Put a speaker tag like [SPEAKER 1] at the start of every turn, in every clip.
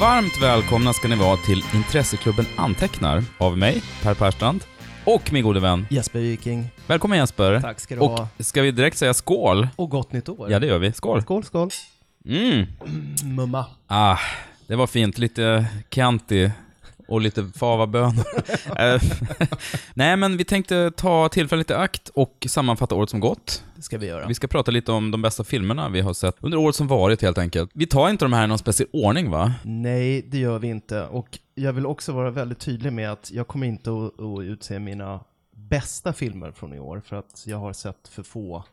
[SPEAKER 1] Varmt välkomna ska ni vara till Intresseklubben Antecknar av mig, Per Perstrand, och min gode vän.
[SPEAKER 2] Jesper Viking,
[SPEAKER 1] Välkommen Jesper.
[SPEAKER 2] tack ska du ha.
[SPEAKER 1] Och ska vi direkt säga skål?
[SPEAKER 2] Och gott nytt år.
[SPEAKER 1] Ja, det gör vi. Skål.
[SPEAKER 2] Skål, skål.
[SPEAKER 1] Mm.
[SPEAKER 2] Mumma.
[SPEAKER 1] Ah, det var fint. Lite Chianti och lite favabönor. Eh, Nej, men vi tänkte ta tillfället i akt och sammanfatta året som gått.
[SPEAKER 2] Det ska vi göra.
[SPEAKER 1] Vi ska prata lite om de bästa filmerna vi har sett under året som varit helt enkelt. Vi tar inte de här i någon speciell ordning va?
[SPEAKER 2] Nej, det gör vi inte. Och jag vill också vara väldigt tydlig med att jag kommer inte att, att utse mina bästa filmer från i år, för att jag har sett för få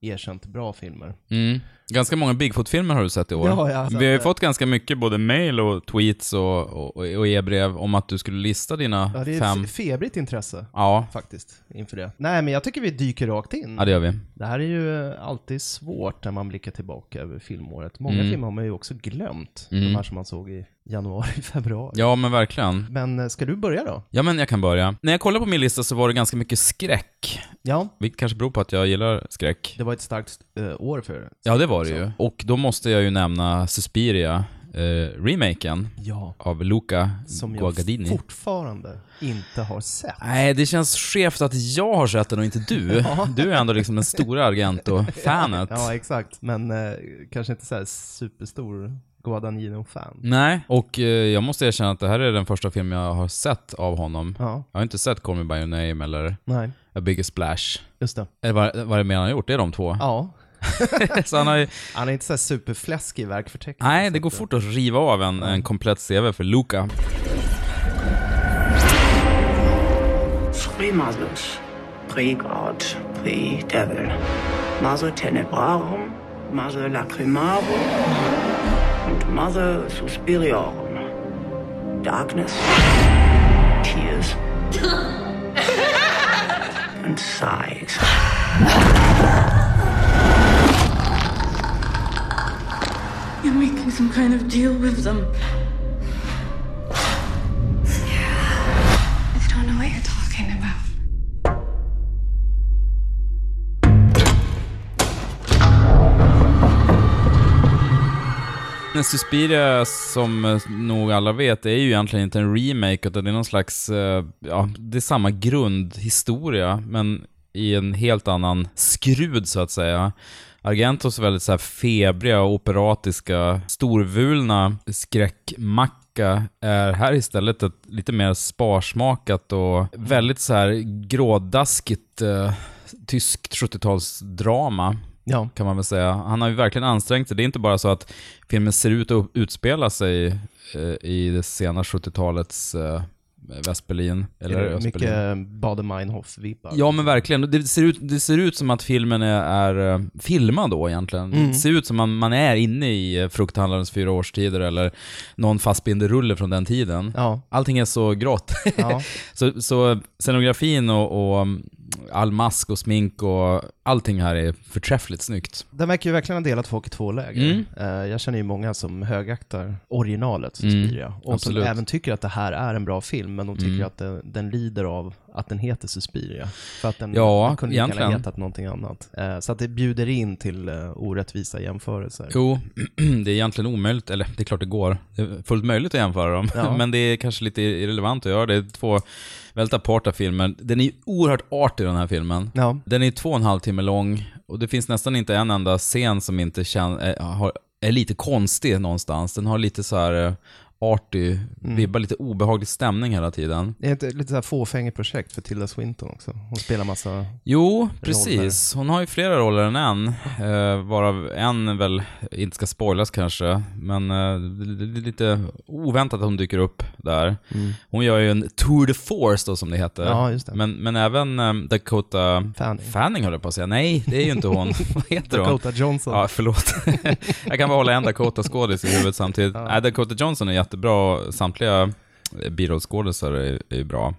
[SPEAKER 2] erkänt bra filmer.
[SPEAKER 1] Mm. Ganska många Bigfoot-filmer har du sett i år.
[SPEAKER 2] Ja, jag har sett
[SPEAKER 1] vi har ju
[SPEAKER 2] det.
[SPEAKER 1] fått ganska mycket både mail och tweets och, och, och e-brev om att du skulle lista dina
[SPEAKER 2] Ja, det är
[SPEAKER 1] fem.
[SPEAKER 2] ett febrigt intresse,
[SPEAKER 1] Ja,
[SPEAKER 2] faktiskt, inför det. Nej, men jag tycker vi dyker rakt in.
[SPEAKER 1] ja, det gör vi.
[SPEAKER 2] Det här är ju eh, alltid svårt när man blickar tillbaka över filmåret. Många filmer har man ju också glömt, de här som man såg i januari, februari.
[SPEAKER 1] Ja, men verkligen.
[SPEAKER 2] Men eh, ska du börja då?
[SPEAKER 1] Ja, men jag kan börja. När jag kollade på min lista så var det ganska mycket skräck.
[SPEAKER 2] Ja,
[SPEAKER 1] Vilket kanske beror på att jag gillar skräck.
[SPEAKER 2] det var ett starkt eh, år för er.
[SPEAKER 1] Ja, det var det ju. Och då måste jag ju nämna Suspiria, eh, remaken
[SPEAKER 2] Ja.
[SPEAKER 1] av Luca
[SPEAKER 2] Som jag
[SPEAKER 1] Guadagnini.
[SPEAKER 2] fortfarande inte har sett.
[SPEAKER 1] Nej, det känns skevt att jag har sett den och inte du. Du är ändå liksom den stora Argento-fanet.
[SPEAKER 2] Ja, exakt. Men eh, kanske inte så här superstor Guadagnino-fan.
[SPEAKER 1] Nej, och eh, jag måste erkänna att det här är den första film jag har sett av honom.
[SPEAKER 2] Ja,
[SPEAKER 1] Jag har inte sett Call Me By Your Name eller
[SPEAKER 2] nej,
[SPEAKER 1] A Bigger Splash.
[SPEAKER 2] just det.
[SPEAKER 1] Eller vad, vad är det mer han har gjort? Det är de två.
[SPEAKER 2] Ja,
[SPEAKER 1] Så han har ju,
[SPEAKER 2] han är inte så här superfläskig i verkförteckningen.
[SPEAKER 1] nej,
[SPEAKER 2] så
[SPEAKER 1] det
[SPEAKER 2] att,
[SPEAKER 1] går fort att riva av en, en komplett CV för Luca.
[SPEAKER 3] Free Masus, Free God, Free Devil. Maso Tenebrarum, Maso Lacrimarum und Maso Suspiriorum. Darkness, Tears and Sighs.
[SPEAKER 4] You're making some kind of deal with them.
[SPEAKER 5] I don't know what you're talking about.
[SPEAKER 1] Men Suspiria, som eh, nog alla vet, är ju egentligen inte en remake, utan det är någon slags, eh, ja, det är samma grundhistoria, men i en helt annan skrud så att säga. Argentos är väldigt så här febriga och operatiska, storvulna skräckmacka är här istället ett lite mer sparsmakat och väldigt så här grådaskigt eh, tyskt 70-talsdrama
[SPEAKER 2] eh, Ja,
[SPEAKER 1] kan man väl säga. Han har ju verkligen ansträngt sig. Det är inte bara så att filmen ser ut att utspela sig eh, i det sena 70-talets eh, Västberlin. Eller
[SPEAKER 2] det är
[SPEAKER 1] Östberlin.
[SPEAKER 2] mycket Bader-Meinhof-vibbar.
[SPEAKER 1] Ja, men verkligen. Det ser ut, det ser ut som att filmen är, är eh, filmad då egentligen.
[SPEAKER 2] Mm.
[SPEAKER 1] Det ser ut som man, man är inne i eh, Frukthandlarens fyra årstider eller någon fastbinderrulle från den tiden.
[SPEAKER 2] Ja,
[SPEAKER 1] Allting är så grått.
[SPEAKER 2] ja.
[SPEAKER 1] Så, så scenografin och, och mm, all mask och smink och allting här är förträffligt snyggt.
[SPEAKER 2] Den verkar ju verkligen ha delat folk i två läger.
[SPEAKER 1] Mm.
[SPEAKER 2] Eh, Jag känner ju många som högaktar originalet, Suspiria. och
[SPEAKER 1] absolut. Mm.
[SPEAKER 2] som även tycker att det här är en bra film, men de tycker att den, den lider av att den heter Suspiria. För att den,
[SPEAKER 1] Ja,
[SPEAKER 2] den kunde lika gärna
[SPEAKER 1] egentligen.
[SPEAKER 2] hetat någonting annat. Eh, Så att det bjuder in till eh, orättvisa jämförelser.
[SPEAKER 1] Jo, det är egentligen omöjligt, eller det är klart det går. Det är fullt möjligt att jämföra dem,
[SPEAKER 2] Ja.
[SPEAKER 1] men det är kanske lite irrelevant att göra det. Det är två väldigt aparta filmer. Den är ju oerhört artig den här filmen.
[SPEAKER 2] Ja,
[SPEAKER 1] Den är två och en halv timme lång och det finns nästan inte en enda scen som inte kän- är, har, är lite konstig någonstans. Den har lite så här eh, artig,
[SPEAKER 2] Mm.
[SPEAKER 1] vibbar lite obehaglig stämning hela tiden.
[SPEAKER 2] det är ett lite så här fåfängigt projekt för Tilda Swinton också. Hon spelar massa,
[SPEAKER 1] Jo, precis. Hon har ju flera roller än en, eh, varav en väl inte ska spoilas kanske, men eh, det det är lite oväntat att hon dyker upp där. Hon gör ju en tour de force då som det heter.
[SPEAKER 2] Mm. Ja, just det.
[SPEAKER 1] Men, men även eh, Dakota
[SPEAKER 2] Fanning.
[SPEAKER 1] Fanning höll jag på att säga. Nej, det är ju inte hon. Vad heter hon?
[SPEAKER 2] Dakota Johnson.
[SPEAKER 1] Ja, förlåt. jag kan bara hålla en Dakota-skådis i huvudet samtidigt. Nej, Dakota Johnson är jättebra. Samtliga birollskådisar är, är bra.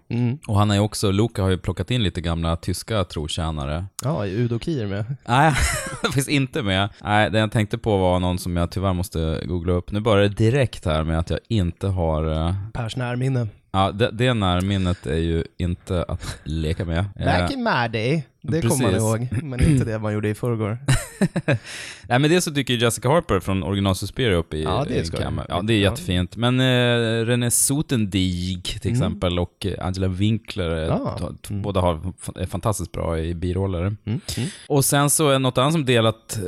[SPEAKER 1] Och han är ju också, Luca har ju plockat in lite gamla tyska trotjänare.
[SPEAKER 2] Ja, är Udo Kier med.
[SPEAKER 1] Nej, det finns inte med. Nej, det jag tänkte på var någon som jag tyvärr måste googla upp. Nu börjar det direkt här med att jag inte har... eh,
[SPEAKER 2] Pers närminne.
[SPEAKER 1] Ja, det, det närminnet är ju inte att leka med. Eh,
[SPEAKER 2] Back in my day, det kommer man
[SPEAKER 1] precis.
[SPEAKER 2] ihåg, men inte det man gjorde i förrgår.
[SPEAKER 1] Nej men dels så dyker ju Jessica Harper från original Suspiria upp i
[SPEAKER 2] Ja, det är
[SPEAKER 1] i
[SPEAKER 2] skoj.
[SPEAKER 1] kameran. Ja, det är jättefint. Men eh, René Sotendig till exempel och eh, Angela Winkler, eh,
[SPEAKER 2] Mm. Ah. Mm,
[SPEAKER 1] ta- t- båda har, f- är fantastiskt bra i biroller. Och sen så är något annat som delat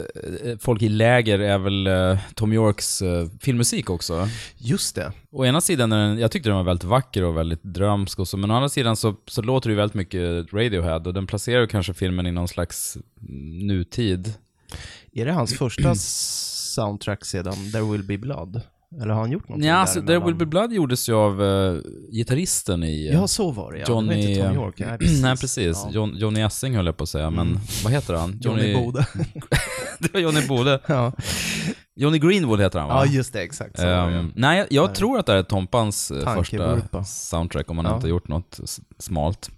[SPEAKER 1] eh, folk i läger är väl eh, Tom Yorks eh, filmmusik också.
[SPEAKER 2] Just det.
[SPEAKER 1] Å ena sidan, är den, jag tyckte den var väldigt vacker och väldigt drömsk och så, men å andra sidan så, så låter det ju väldigt mycket Radiohead och den placerar ju kanske filmen i någon slags nutid.
[SPEAKER 2] Är det hans första soundtrack sedan There Will Be Blood? Eller har han gjort någonting
[SPEAKER 1] Ja, alltså There
[SPEAKER 2] däremellan?
[SPEAKER 1] Will Be Blood gjordes ju av eh, gitarristen i... eh,
[SPEAKER 2] Ja, så var det ja. Det var
[SPEAKER 1] Johnny... eh,
[SPEAKER 2] inte Tom York.
[SPEAKER 1] Nej, precis. John, Johnny Essing höll jag på att säga, men vad heter han?
[SPEAKER 2] Mm. Johnny Bode.
[SPEAKER 1] det var Johnny Bode.
[SPEAKER 2] ja.
[SPEAKER 1] Johnny Greenwood heter han va?
[SPEAKER 2] ja, just det. Exakt. Så var det.
[SPEAKER 1] Ehm, nej, jag, jag tror att det här är Tompans eh,
[SPEAKER 2] Tankevurpa.
[SPEAKER 1] första soundtrack om han
[SPEAKER 2] Ja. Mm.
[SPEAKER 1] inte har gjort något s- smalt.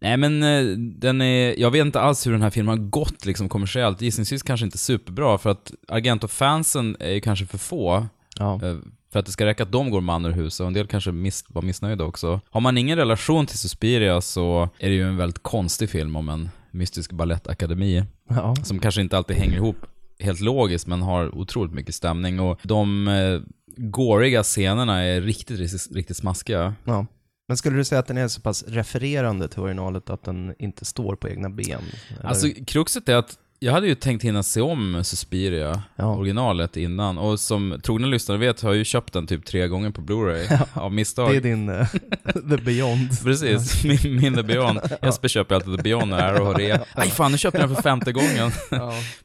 [SPEAKER 1] Nej men eh, den är, jag vet inte alls hur den här filmen har gått liksom kommersiellt. Gissningsvis kanske inte superbra för att Argento-fansen är ju kanske för få.
[SPEAKER 2] ja.
[SPEAKER 1] Eh, För att det ska räcka att de går man ur huset och en del kanske miss, var missnöjda också. Har man ingen relation till Suspiria så är det ju en väldigt konstig film om en mystisk balettakademi
[SPEAKER 2] ja.
[SPEAKER 1] som kanske inte alltid hänger ihop helt logiskt men har otroligt mycket stämning och de eh, gåriga scenerna är riktigt, riktigt, riktigt smaskiga.
[SPEAKER 2] Ja. Men skulle du säga att den är så pass refererande till originalet att den inte står på egna ben? Eller?
[SPEAKER 1] Alltså kruxet är att jag hade ju tänkt hinna se om Suspiria,
[SPEAKER 2] Ja.
[SPEAKER 1] originalet, innan. Och som trogna lyssnare vet har jag ju köpt den typ tre gånger på Blu-ray av misstag.
[SPEAKER 2] det är din eh, The Beyond.
[SPEAKER 1] Precis, min, min The Beyond. Jesper köper alltid The Beyond när och har rea. Aj fan, nu köper jag den för femte gången.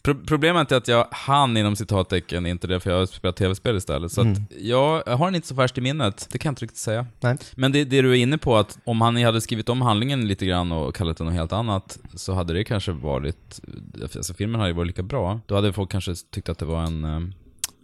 [SPEAKER 1] Pro- Problemet är att jag hann inom citattecken inte det, för jag har spelat tv-spel istället. Så att jag har den inte så färskt i minnet, det kan jag inte riktigt säga.
[SPEAKER 2] Nej.
[SPEAKER 1] Men det, det du är inne på, att om han hade skrivit om handlingen lite grann och kallat den något helt annat, så hade det kanske varit, alltså filmen hade ju varit lika bra. Då hade folk kanske tyckt att det var en, eh,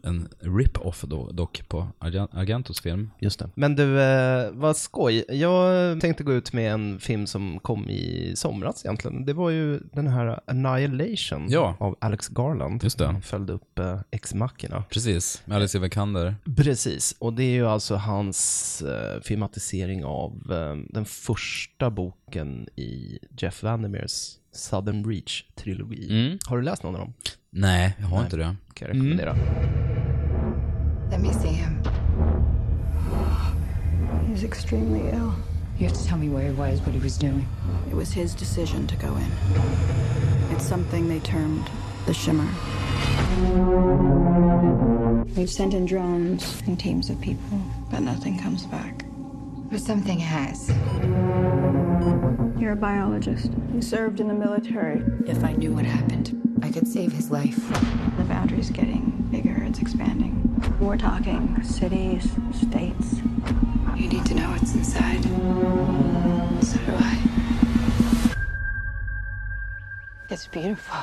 [SPEAKER 1] en rip-off då, dock på Argen- Argentos film.
[SPEAKER 2] Just det. Men du, eh, vad skoj. Jag tänkte gå ut med en film som kom i somras egentligen. Det var ju den här Annihilation
[SPEAKER 1] Ja.
[SPEAKER 2] av Alex Garland.
[SPEAKER 1] Just det.
[SPEAKER 2] Han följde upp eh, Ex Machina.
[SPEAKER 1] Precis, med Alice Vikander.
[SPEAKER 2] Precis, och det är ju alltså hans eh, filmatisering av eh, den första boken i Jeff Vandermeers Southern Reach-trilogi.
[SPEAKER 1] Mm.
[SPEAKER 2] Har du läst någon av dem?
[SPEAKER 1] Nej, jag har inte det.
[SPEAKER 2] Kan jag rekommendera.
[SPEAKER 5] Let me see him.
[SPEAKER 6] He's extremely ill.
[SPEAKER 5] You have to tell me where he was, what he was doing.
[SPEAKER 6] It was his decision to go in. It's something they termed the shimmer. We've sent in drones and teams of people, but nothing comes back.
[SPEAKER 5] But something has.
[SPEAKER 6] You're a biologist. You served in the military.
[SPEAKER 5] If I knew what happened, I could save his life.
[SPEAKER 6] The boundary's getting bigger, it's expanding. We're talking cities, states.
[SPEAKER 5] You need to know what's inside. So do I. It's beautiful.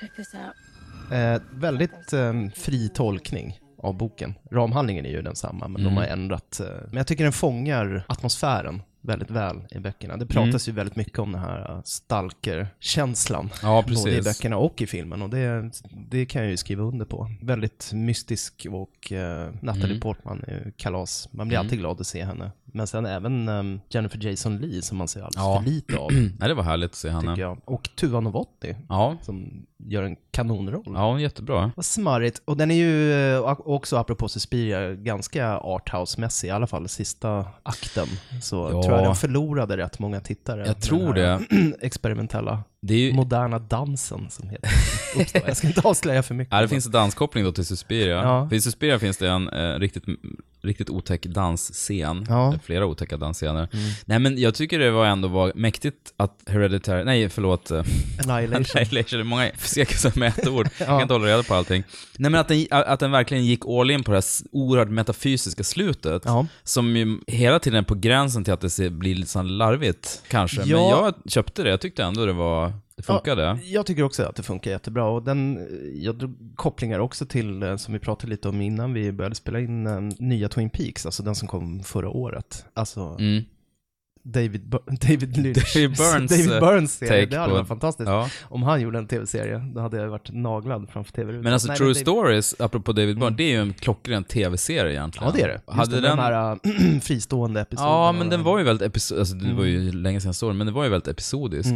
[SPEAKER 5] Check this out.
[SPEAKER 2] Eh, väldigt eh, fri tolkning av boken. Ramhandlingen är ju densamma, men
[SPEAKER 1] Mm.
[SPEAKER 2] de har ändrat. Eh, men jag tycker den fångar atmosfären väldigt väl i böckerna. Det pratas ju väldigt mycket om den här eh, stalker-känslan.
[SPEAKER 1] Mm. Ja,
[SPEAKER 2] Både i
[SPEAKER 1] precis.
[SPEAKER 2] böckerna och i filmen och det, det kan jag ju skriva under på. Väldigt mystisk och eh, Natalie
[SPEAKER 1] Mm.
[SPEAKER 2] Portman är ju kalas. Man blir alltid glad att se henne. Men sen även eh, Jennifer Jason Leigh som man ser alldeles
[SPEAKER 1] Ja.
[SPEAKER 2] för lite av,
[SPEAKER 1] Mm. Nej, det var härligt att se henne.
[SPEAKER 2] tycker jag. Och Tuva Novotny
[SPEAKER 1] Ja.
[SPEAKER 2] som gör en kanonroll.
[SPEAKER 1] ja, hon är jättebra.
[SPEAKER 2] Vad smarrigt. Och den är ju eh, ak- också, apropå Suspiria, ganska arthouse-mässig, i alla fall sista akten. Så
[SPEAKER 1] Ja.
[SPEAKER 2] tror jag den förlorade rätt många tittare.
[SPEAKER 1] Jag tror
[SPEAKER 2] Den här experimentella,
[SPEAKER 1] Det, är ju,
[SPEAKER 2] moderna dansen som heter. Uppstår. Jag ska inte avslöja för mycket.
[SPEAKER 1] ja, det finns en danskoppling då till Suspiria.
[SPEAKER 2] Ja.
[SPEAKER 1] För I Suspiria finns det en eh, riktigt, riktigt otäck dansscen.
[SPEAKER 2] Ja. Mm.
[SPEAKER 1] Det är Flera otäcka dansscener. Nej, men jag tycker det var ändå var mäktigt att Hereditary, nej förlåt, eh,
[SPEAKER 2] Annihilation.
[SPEAKER 1] Annihilation, det är många cirkusar med ett ord. Jag kan inte hålla reda på allting. Nej men att den, att den verkligen gick all in på det här s- oerhört metafysiska slutet.
[SPEAKER 2] Ja.
[SPEAKER 1] Som ju hela tiden är på gränsen till att det ser- blir lite så här larvigt kanske. Men
[SPEAKER 2] Ja.
[SPEAKER 1] jag köpte det, jag tyckte ändå det var, det funkade.
[SPEAKER 2] Ja, jag tycker också att det funkar jättebra. Och den, eh, jag drog kopplingar också till, eh, som vi pratade lite om innan vi började spela in, eh, nya Twin Peaks, alltså den som kom förra året. Alltså,
[SPEAKER 1] Mm.
[SPEAKER 2] David, Bur- David Lynch.
[SPEAKER 1] David Burns,
[SPEAKER 2] David
[SPEAKER 1] eh,
[SPEAKER 2] Burns serie.
[SPEAKER 1] take
[SPEAKER 2] Det hade
[SPEAKER 1] på-
[SPEAKER 2] varit fantastiskt.
[SPEAKER 1] Ja.
[SPEAKER 2] Om han gjorde en tv-serie, då hade jag varit naglad framför tv-rutan.
[SPEAKER 1] Men alltså
[SPEAKER 2] Nej,
[SPEAKER 1] True
[SPEAKER 2] David-
[SPEAKER 1] Stories, apropå David Byrne, det är ju en klockren tv-serie egentligen.
[SPEAKER 2] Ja, det är det. Just
[SPEAKER 1] Hade
[SPEAKER 2] det,
[SPEAKER 1] den...
[SPEAKER 2] De här äh, fristående episoderna. Mm.
[SPEAKER 1] ja, men den var ju väldigt episodisk, alltså det var ju länge sedan jag såg den, men den var ju väldigt episodisk.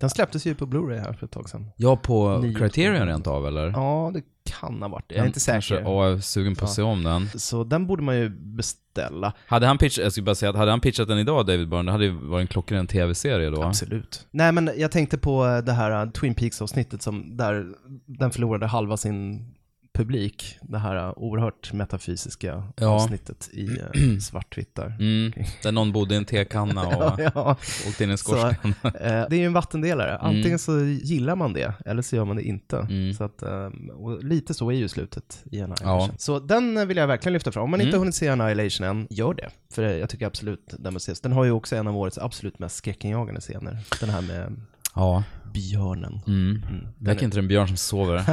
[SPEAKER 2] Den släpptes ju på Blu-ray här för ett tag sedan.
[SPEAKER 1] Ja, på
[SPEAKER 2] Mm. Nio
[SPEAKER 1] Criterion
[SPEAKER 2] tror
[SPEAKER 1] rent av eller?
[SPEAKER 2] Ja, det kan ha varit det. Jag är
[SPEAKER 1] Den
[SPEAKER 2] inte säker.
[SPEAKER 1] Kanske, ja, jag är sugen på att se om den.
[SPEAKER 2] Så den borde man ju beställa.
[SPEAKER 1] Hade han pitchat, jag skulle bara säga att hade han pitchat den idag, David Byrne, det hade ju varit en klockren tv-serie då.
[SPEAKER 2] Absolut. Nej men jag tänkte på eh, det här eh, Twin Peaks-avsnittet som där den förlorade halva sin publik. Det här eh, oerhört metafysiska
[SPEAKER 1] Ja.
[SPEAKER 2] avsnittet i eh, svartvitt där.
[SPEAKER 1] Mm, där någon bodde i en tekanna och
[SPEAKER 2] Ja,
[SPEAKER 1] åkte in i en
[SPEAKER 2] så,
[SPEAKER 1] skorsten.
[SPEAKER 2] eh, det är ju en vattendelare.
[SPEAKER 1] Mm.
[SPEAKER 2] Antingen så gillar man det eller så gör man det inte. Så att, eh, och lite så är ju slutet i Annihilation.
[SPEAKER 1] Ja. Mm.
[SPEAKER 2] Så den eh, vill jag verkligen lyfta fram. Om man inte har hunnit se Annihilation än, gör det. För eh, jag tycker absolut den bör ses. Den har ju också en av årets absolut mest skräckinjagande scener. Den här med
[SPEAKER 1] Ja,
[SPEAKER 2] björnen.
[SPEAKER 1] mm. Väcker inte en björn som sover.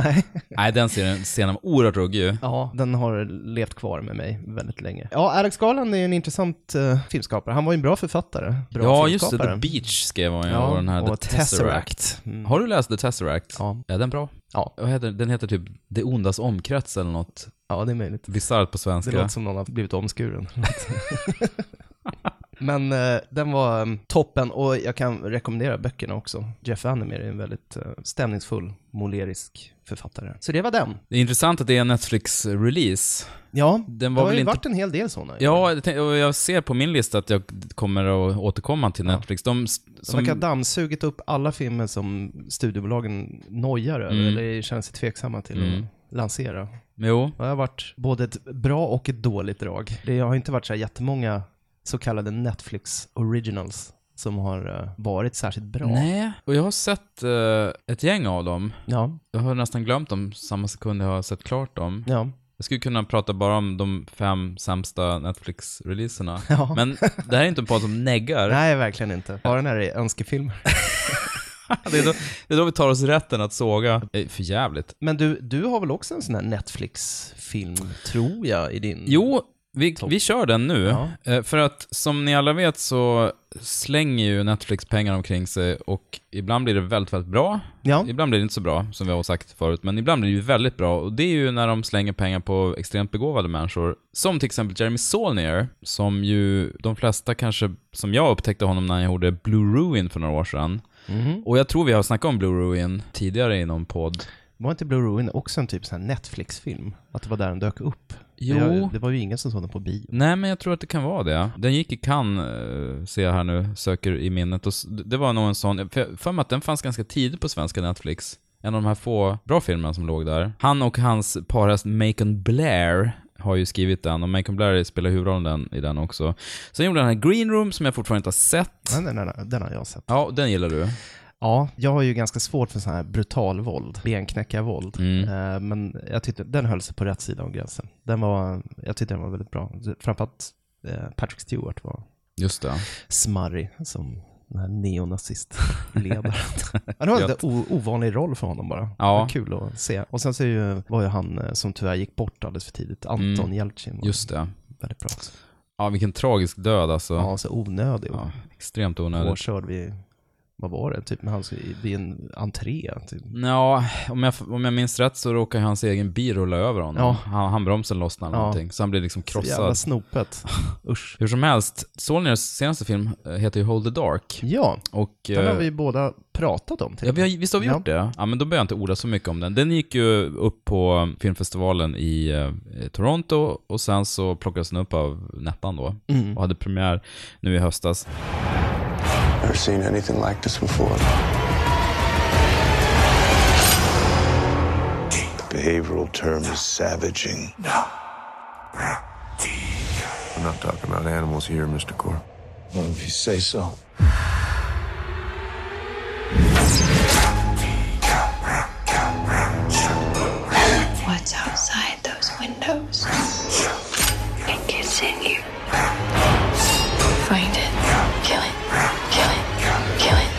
[SPEAKER 1] Nej, den scenen, scenen var oerhört ruggig ju.
[SPEAKER 2] Ja, den har levt kvar med mig väldigt länge. Ja, Alex Garland är en intressant eh, filmskapare. Han var ju en bra författare. Bra
[SPEAKER 1] Ja, just det.
[SPEAKER 2] filmskapare.
[SPEAKER 1] The Beach skrev hon ju. och den här
[SPEAKER 2] och
[SPEAKER 1] The Tesseract.
[SPEAKER 2] Tesseract. Mm.
[SPEAKER 1] Har du läst The Tesseract?
[SPEAKER 2] Ja.
[SPEAKER 1] Är den bra?
[SPEAKER 2] Ja.
[SPEAKER 1] Vad heter, den? den heter typ Det ondas omkrets eller något
[SPEAKER 2] Ja, det är möjligt.
[SPEAKER 1] bisarrt på
[SPEAKER 2] Det
[SPEAKER 1] svenska.
[SPEAKER 2] låter som någon har blivit omskuren. Men eh, den var eh, toppen och jag kan rekommendera böckerna också. Jeff Vandermeer är en väldigt eh, stämningsfull, målerisk författare. Så det var den.
[SPEAKER 1] Det är intressant att det är en Netflix-release.
[SPEAKER 2] Ja,
[SPEAKER 1] Den
[SPEAKER 2] det
[SPEAKER 1] var
[SPEAKER 2] har
[SPEAKER 1] väl
[SPEAKER 2] ju
[SPEAKER 1] inte-
[SPEAKER 2] varit en hel del sådana.
[SPEAKER 1] Ja, jag tänk- och jag ser på min lista att jag kommer att återkomma till Netflix. De, s-
[SPEAKER 2] De
[SPEAKER 1] som,
[SPEAKER 2] verkar ha dammsugit upp alla filmer som studiebolagen nojar
[SPEAKER 1] Mm.
[SPEAKER 2] över eller känner sig tveksamma till att lansera.
[SPEAKER 1] jo,
[SPEAKER 2] Det har varit både ett bra och ett dåligt drag. Det har inte varit så här jättemånga så kallade Netflix originals som har eh, varit särskilt bra.
[SPEAKER 1] nej. Och jag har sett eh, ett gäng av dem.
[SPEAKER 2] Ja,
[SPEAKER 1] Jag har nästan glömt dem samma sekund jag har sett klart dem.
[SPEAKER 2] ja.
[SPEAKER 1] Jag skulle kunna prata bara om de fem sämsta Netflix-releaserna. Men det här är inte en podd som neggar.
[SPEAKER 2] Nej, verkligen inte. Bara när det är önskefilmer.
[SPEAKER 1] Det är, då, det är då vi tar oss rätten att såga. Eh, För jävligt.
[SPEAKER 2] Men du, du har väl också en sån här Netflix-film, tror jag, i din...
[SPEAKER 1] Jo, vi, vi kör den nu.
[SPEAKER 2] Ja.
[SPEAKER 1] Eh, För att som ni alla vet så slänger ju Netflix pengar omkring sig och ibland blir det väldigt, väldigt bra.
[SPEAKER 2] Ja.
[SPEAKER 1] Ibland blir det inte så bra, som vi har sagt förut, men ibland blir det ju väldigt bra. Och det är ju när de slänger pengar på extremt begåvade människor. Som till exempel Jeremy Saulnier, som ju de flesta kanske, som jag upptäckte honom när jag gjorde Blue Ruin för några år sedan.
[SPEAKER 2] Mhm.
[SPEAKER 1] Och jag tror vi har snackat om Blue Ruin tidigare i någon podd.
[SPEAKER 2] Var inte Blue Ruin också en typ sån här Netflix-film? Att det var där den dök upp?
[SPEAKER 1] Jo.
[SPEAKER 2] Jag, det var ju ingen som såg den på bio.
[SPEAKER 1] Nej, men jag tror att det kan vara det. Den gick i Cannes, eh, ser jag här nu, söker i minnet. Och s- det var nog en sån, för jag- för mig att den fanns ganska tidigt på svenska Netflix. En av de här få bra filmerna som låg där. Han och hans parhäst Macon Blair har ju skrivit den och Macon Blair spelar huvudrollen den- i den också. Sen gjorde han den här Green Room som jag fortfarande inte har sett.
[SPEAKER 2] Den, den, den, den har jag sett.
[SPEAKER 1] Ja, den gillar du.
[SPEAKER 2] Ja, jag har ju ganska svårt för sån här brutal våld, benknäckarvåld.
[SPEAKER 1] Mm,
[SPEAKER 2] Eh, Men jag tyckte den höll sig på rätt sida om gränsen. Den var, jag tyckte den var väldigt bra. Framförallt eh, Patrick Stewart var
[SPEAKER 1] Just det.
[SPEAKER 2] smarrig som den här neonazistledaren. ja, det var en lite o- ovanlig roll för honom bara.
[SPEAKER 1] Ja.
[SPEAKER 2] Det var kul att se. Och sen så är ju, var ju han eh, som tyvärr gick bort alldeles för tidigt, Anton Jeltsin. var
[SPEAKER 1] Mm. Just det.
[SPEAKER 2] Väldigt bra också.
[SPEAKER 1] Ja, vilken tragisk död alltså.
[SPEAKER 2] Ja, så onödig och
[SPEAKER 1] Ja, extremt onödigt.
[SPEAKER 2] påkörd vid, vad var det, typ när han skulle- vid en entré. Typ.
[SPEAKER 1] Ja, om jag, om jag minns rätt så råkar hans egen bil rulla över honom.
[SPEAKER 2] Ja.
[SPEAKER 1] Han, han bromsen lossnar eller
[SPEAKER 2] Ja.
[SPEAKER 1] någonting, så han blir liksom
[SPEAKER 2] Så Jävla
[SPEAKER 1] krossad.
[SPEAKER 2] snopet. Usch.
[SPEAKER 1] Hur som helst, Solniers senaste film eh, heter ju Hold the Dark.
[SPEAKER 2] Ja,
[SPEAKER 1] Och,
[SPEAKER 2] den har
[SPEAKER 1] eh,
[SPEAKER 2] vi ju båda pratat om. till
[SPEAKER 1] Ja,
[SPEAKER 2] och
[SPEAKER 1] vi
[SPEAKER 2] med.
[SPEAKER 1] har, visst har vi
[SPEAKER 2] Ja.
[SPEAKER 1] gjort det? Ja, men då behöver jag inte orda så mycket om den. Den gick ju upp på eh, filmfestivalen i eh, Toronto och sen så plockades den upp av Nettan då
[SPEAKER 2] Mm.
[SPEAKER 1] och hade premiär nu i höstas.
[SPEAKER 7] Never seen anything like this before. The behavioral term is savaging.
[SPEAKER 8] I'm not talking about animals here, Mr. Core.
[SPEAKER 7] Well, if you say so.
[SPEAKER 5] What's outside those windows? It gets in you. Find it. Kill it. Kill it. Kill it.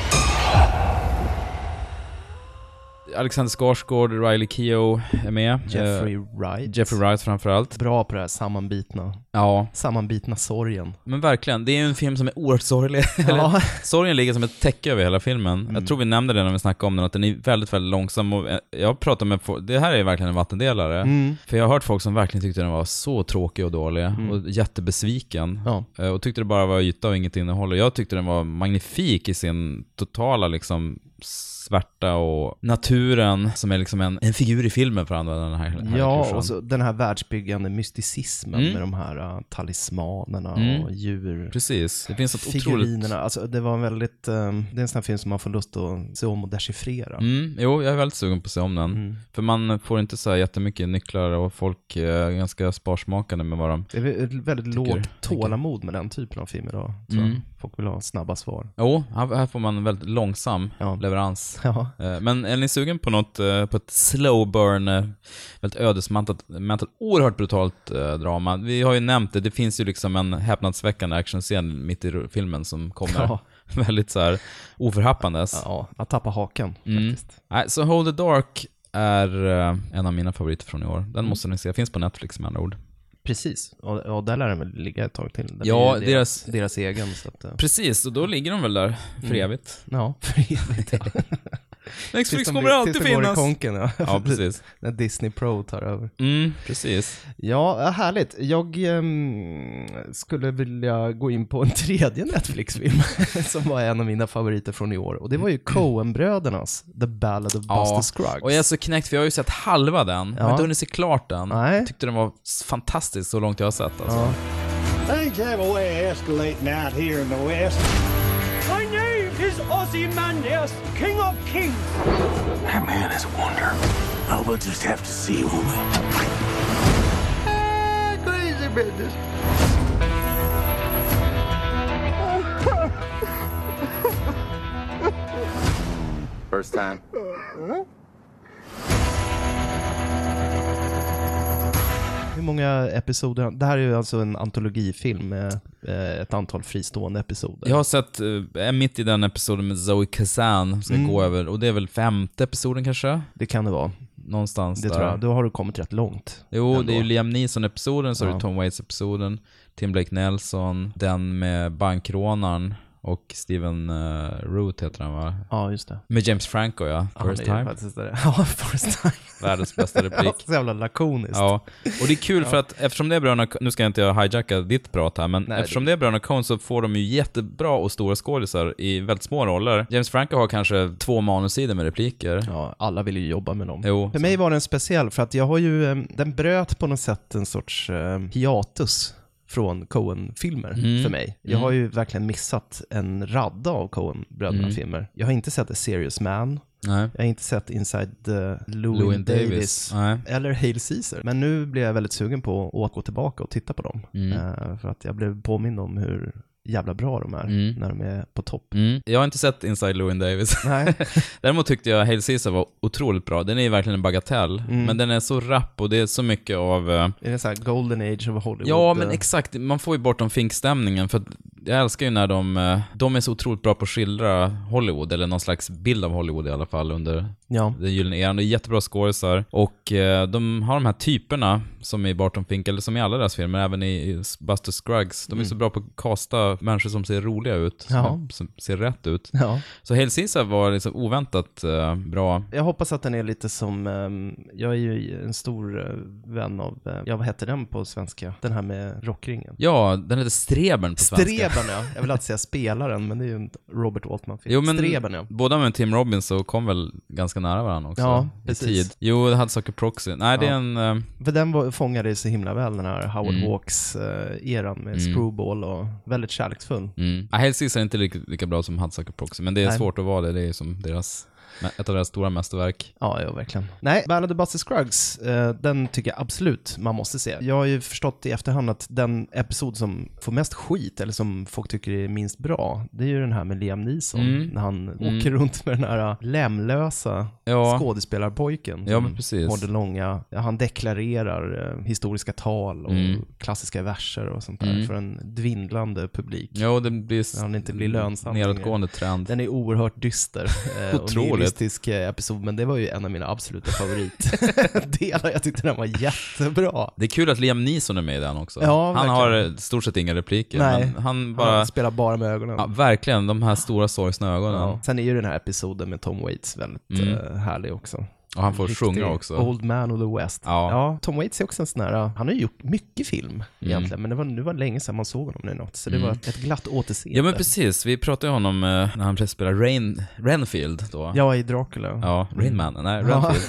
[SPEAKER 1] Alexander Skarsgård, Riley Keough är med.
[SPEAKER 2] Jeffrey
[SPEAKER 1] Eh,
[SPEAKER 2] Wright.
[SPEAKER 1] Jeffrey Wright framförallt.
[SPEAKER 2] Bra på det här sammanbitna,
[SPEAKER 1] Ja,
[SPEAKER 2] sammanbitna sorgen.
[SPEAKER 1] Men verkligen, det är ju en film som är oerhört sorglig.
[SPEAKER 2] Ja.
[SPEAKER 1] Eller, sorgen ligger som ett täcke över hela filmen.
[SPEAKER 2] Mm.
[SPEAKER 1] Jag tror vi nämnde det när vi snackade om den, att den är väldigt, väldigt långsam. Och eh, jag pratar med folk, det här är verkligen en vattendelare.
[SPEAKER 2] Mm.
[SPEAKER 1] För jag har hört folk som verkligen tyckte den var så tråkig och dålig och jättebesviken.
[SPEAKER 2] Ja.
[SPEAKER 1] Eh, Och tyckte det bara var yta och inget innehåll. Och jag tyckte den var magnifik i sin totala liksom svärta och naturen som är liksom en, en figur i filmen för att använda den här, här
[SPEAKER 2] Ja,
[SPEAKER 1] kursen.
[SPEAKER 2] och så den här världsbyggande mysticismen med de här uh, talismanerna och djur.
[SPEAKER 1] Precis, det finns ett otroligt...
[SPEAKER 2] Figurinerna, alltså det var en väldigt, ehm, det är en sån här film som man får lust att se om och dechiffrera.
[SPEAKER 1] Mm, jo, jag är väldigt sugen på att se om den.
[SPEAKER 2] Mm.
[SPEAKER 1] För man får inte så här jättemycket nycklar och folk är ganska sparsmakande med vad de...
[SPEAKER 2] Det är väl ett väldigt lågt
[SPEAKER 1] tycker.
[SPEAKER 2] tålamod med den typen av film idag, tror jag. Folk vill ha snabba svar.
[SPEAKER 1] Jo, här, här får man en väldigt långsam
[SPEAKER 2] Ja.
[SPEAKER 1] leverans.
[SPEAKER 2] Ja.
[SPEAKER 1] Eh, Men är ni sugen på något, eh, på ett slow burn, eh, väldigt ödesmättat, mättat, oerhört brutalt eh, drama? Vi har ju nämnt det, det finns ju liksom en häpnadsväckande actionscen mitt i ru- filmen som kommer
[SPEAKER 2] Ja.
[SPEAKER 1] väldigt så här oförhappandes.
[SPEAKER 2] ja, man tappar hakan faktiskt.
[SPEAKER 1] Nej, så Hold the Dark är eh, en av mina favoriter från i år.
[SPEAKER 2] Mm.
[SPEAKER 1] Den måste ni se, finns på Netflix med andra ord.
[SPEAKER 2] Precis, och, och där lär den väl ligga ett tag till. Den
[SPEAKER 1] Ja,
[SPEAKER 2] är ju
[SPEAKER 1] deras-
[SPEAKER 2] deras egen. Så att, eh,
[SPEAKER 1] Precis, och då ligger de väl där för evigt.
[SPEAKER 2] ja, för evigt.
[SPEAKER 1] Netflix
[SPEAKER 2] de
[SPEAKER 1] kommer
[SPEAKER 2] blir-
[SPEAKER 1] alltid
[SPEAKER 2] tills de går
[SPEAKER 1] finnas.
[SPEAKER 2] i konken, ja.
[SPEAKER 1] Ja, precis.
[SPEAKER 2] När Disney Pro tar över.
[SPEAKER 1] Mm, precis.
[SPEAKER 2] Ja, eh, härligt. Jag ehm, skulle vilja gå in på en tredje Netflix-film som var en av mina favoriter från i år. Och det var ju Coen-brödernas The Ballad of Buster Scruggs.
[SPEAKER 1] och jag är så knäckt för jag har ju sett halva den. Jag har
[SPEAKER 2] Ja.
[SPEAKER 1] inte hunnit se klart den.
[SPEAKER 2] Nej.
[SPEAKER 1] Jag tyckte den var s- fantastisk så långt jag har sett alltså.
[SPEAKER 9] Things have a way of escalating out here in the West. My name is Ozymandias, King of Kings.
[SPEAKER 7] That man is a wonder. I will just have to see, won't we?
[SPEAKER 8] First time.
[SPEAKER 2] Hur många episoder? Det här är ju alltså en antologifilm med eh, ett antal fristående episoder.
[SPEAKER 1] Jag har sett, eh, är mitt i den episoden med Zoe Kazan,
[SPEAKER 2] Mm.
[SPEAKER 1] ska gå över, och det är väl femte episoden kanske?
[SPEAKER 2] Det kan det vara.
[SPEAKER 1] Någonstans
[SPEAKER 2] Det
[SPEAKER 1] där.
[SPEAKER 2] tror jag. Då har du kommit rätt långt.
[SPEAKER 1] Jo,
[SPEAKER 2] ändå.
[SPEAKER 1] det är ju Liam Neeson-episoden, så är det
[SPEAKER 2] Ja.
[SPEAKER 1] Tom Waits-episoden, Tim Blake Nelson, den med bankrånaren och Steven eh, Root heter han va?
[SPEAKER 2] Ja, just det.
[SPEAKER 1] Med James Franco ja, First
[SPEAKER 2] ja, det är
[SPEAKER 1] Time.
[SPEAKER 2] faktiskt det. Ja, first time.
[SPEAKER 1] Världens bästa
[SPEAKER 2] Ja,
[SPEAKER 1] replik.
[SPEAKER 2] så jävla lakoniskt.
[SPEAKER 1] Ja, och det är kul för att eftersom det är bröderna, nu ska jag inte hijacka ditt prat här, men
[SPEAKER 2] Nej,
[SPEAKER 1] eftersom det är bröderna Coen så får de ju jättebra och stora skådisar i väldigt små roller. James Franco har kanske två manussidor med repliker.
[SPEAKER 2] Ja, alla vill ju jobba med dem.
[SPEAKER 1] Jo,
[SPEAKER 2] för mig var den speciell, för att jag har ju, eh, den bröt på något sätt en sorts eh, hiatus från Coen-filmer
[SPEAKER 1] Mm.
[SPEAKER 2] för mig. Jag har ju verkligen missat en radda av
[SPEAKER 1] Mm.
[SPEAKER 2] Coen-bröderna-filmer. Jag har inte sett The Serious Man,
[SPEAKER 1] Nej.
[SPEAKER 2] jag har inte sett Inside the Louis,
[SPEAKER 1] Llewyn Davis.
[SPEAKER 2] Davis,
[SPEAKER 1] Nej.
[SPEAKER 2] eller Hail Caesar. Men nu blir jag väldigt sugen på att gå tillbaka och titta på dem.
[SPEAKER 1] Mm.
[SPEAKER 2] Eh, för att jag blev påmind om hur jävla bra de är när de är på topp.
[SPEAKER 1] Mm. Jag har inte sett Inside Llewyn Davis.
[SPEAKER 2] Nej.
[SPEAKER 1] Däremot tyckte jag Hail Caesar var otroligt bra. Den är ju verkligen en bagatell, men den är så rapp och det är så mycket av... eh,
[SPEAKER 2] Är det så här Golden Age of Hollywood?
[SPEAKER 1] Ja, men
[SPEAKER 2] eh,
[SPEAKER 1] exakt. Man får ju bort de finkstämningen, för att jag älskar ju när de... eh, De är så otroligt bra på att skildra Hollywood, eller någon slags bild av Hollywood i alla fall, under
[SPEAKER 2] ja.
[SPEAKER 1] den gyllene eran. Det är jättebra skådisar och eh, de har de här typerna som i Barton Fink, eller som i alla deras filmer, även i i Buster Scruggs. De är så bra på att kasta människor som ser roliga ut, som,
[SPEAKER 2] Ja.
[SPEAKER 1] som ser rätt ut.
[SPEAKER 2] ja.
[SPEAKER 1] Så Hail Caesar var liksom oväntat eh, bra.
[SPEAKER 2] Jag hoppas att den är lite som, ehm, jag är ju en stor eh, vän av, eh, ja vad heter den på svenska? Den här med rockringen.
[SPEAKER 1] Ja, den heter Streben på svenska.
[SPEAKER 2] Streben ja, jag vill alltid säga spelaren, men det är ju en Robert Altman-film.
[SPEAKER 1] Jo, men
[SPEAKER 2] Streben ja.
[SPEAKER 1] Båda med Tim Robbins så kom väl ganska nära varandra också.
[SPEAKER 2] Ja,
[SPEAKER 1] i
[SPEAKER 2] precis.
[SPEAKER 1] Tid. Jo, det hade saker proxy. Nej, det är
[SPEAKER 2] Ja.
[SPEAKER 1] en... eh,
[SPEAKER 2] För den var, fångade så himla väl, den här Howard
[SPEAKER 1] Mm.
[SPEAKER 2] Hawks-eran med screwball och väldigt kärleksfull.
[SPEAKER 1] Mm. Ah, Hail Caesar är inte lika, lika bra som Hudsucker Proxy, men det är
[SPEAKER 2] Nej.
[SPEAKER 1] svårt att vara det. Det är ju som deras, ett av deras stora mästerverk.
[SPEAKER 2] Ja, ja, verkligen. Nej, Ballad of Buster Scruggs, eh, den tycker jag absolut man måste se. Jag har ju förstått i efterhand att den episod som får mest skit, eller som folk tycker är minst bra, det är ju den här med Liam Neeson,
[SPEAKER 1] Mm.
[SPEAKER 2] när han åker runt med den här eh, lämlösa
[SPEAKER 1] Ja.
[SPEAKER 2] skådespelarpojken.
[SPEAKER 1] Ja,
[SPEAKER 2] som
[SPEAKER 1] men precis.
[SPEAKER 2] Har det långa, ja, han deklarerar eh, historiska tal och
[SPEAKER 1] Mm.
[SPEAKER 2] klassiska verser och sånt där för en dvindlande publik.
[SPEAKER 1] Jo, det blir... s-
[SPEAKER 2] När han inte blir lönsam längre.
[SPEAKER 1] Nedåtgående trend.
[SPEAKER 2] Den är oerhört dyster eh, och
[SPEAKER 1] Otroligt.
[SPEAKER 2] nihilistisk eh, episod, men det var ju en av mina absoluta favoritdelar. Jag tyckte den var jättebra.
[SPEAKER 1] Det är kul att Liam Neeson är med i den också.
[SPEAKER 2] Ja,
[SPEAKER 1] han
[SPEAKER 2] verkligen.
[SPEAKER 1] har eh, stort sett inga repliker,
[SPEAKER 2] Nej,
[SPEAKER 1] men han bara...
[SPEAKER 2] spelar bara med ögonen.
[SPEAKER 1] ja, verkligen, de här stora sorgsna ögonen.
[SPEAKER 2] Ja. Sen är ju den här episoden med Tom Waits väldigt eh, härlig också.
[SPEAKER 1] Mm. Och han får
[SPEAKER 2] Riktig
[SPEAKER 1] sjunga också.
[SPEAKER 2] Old Man of the West.
[SPEAKER 1] Ja. Mm.
[SPEAKER 2] Tom Waits är också en sån här, han har ju gjort mycket film egentligen, men det var, nu var det länge sedan man såg honom nu något, så det var ett glatt återseende.
[SPEAKER 1] Ja men precis, vi pratade ju om honom eh, när han spelar Rain, Renfield då.
[SPEAKER 2] Ja, i Dracula.
[SPEAKER 1] Ja, Rainman. Nej, Renfield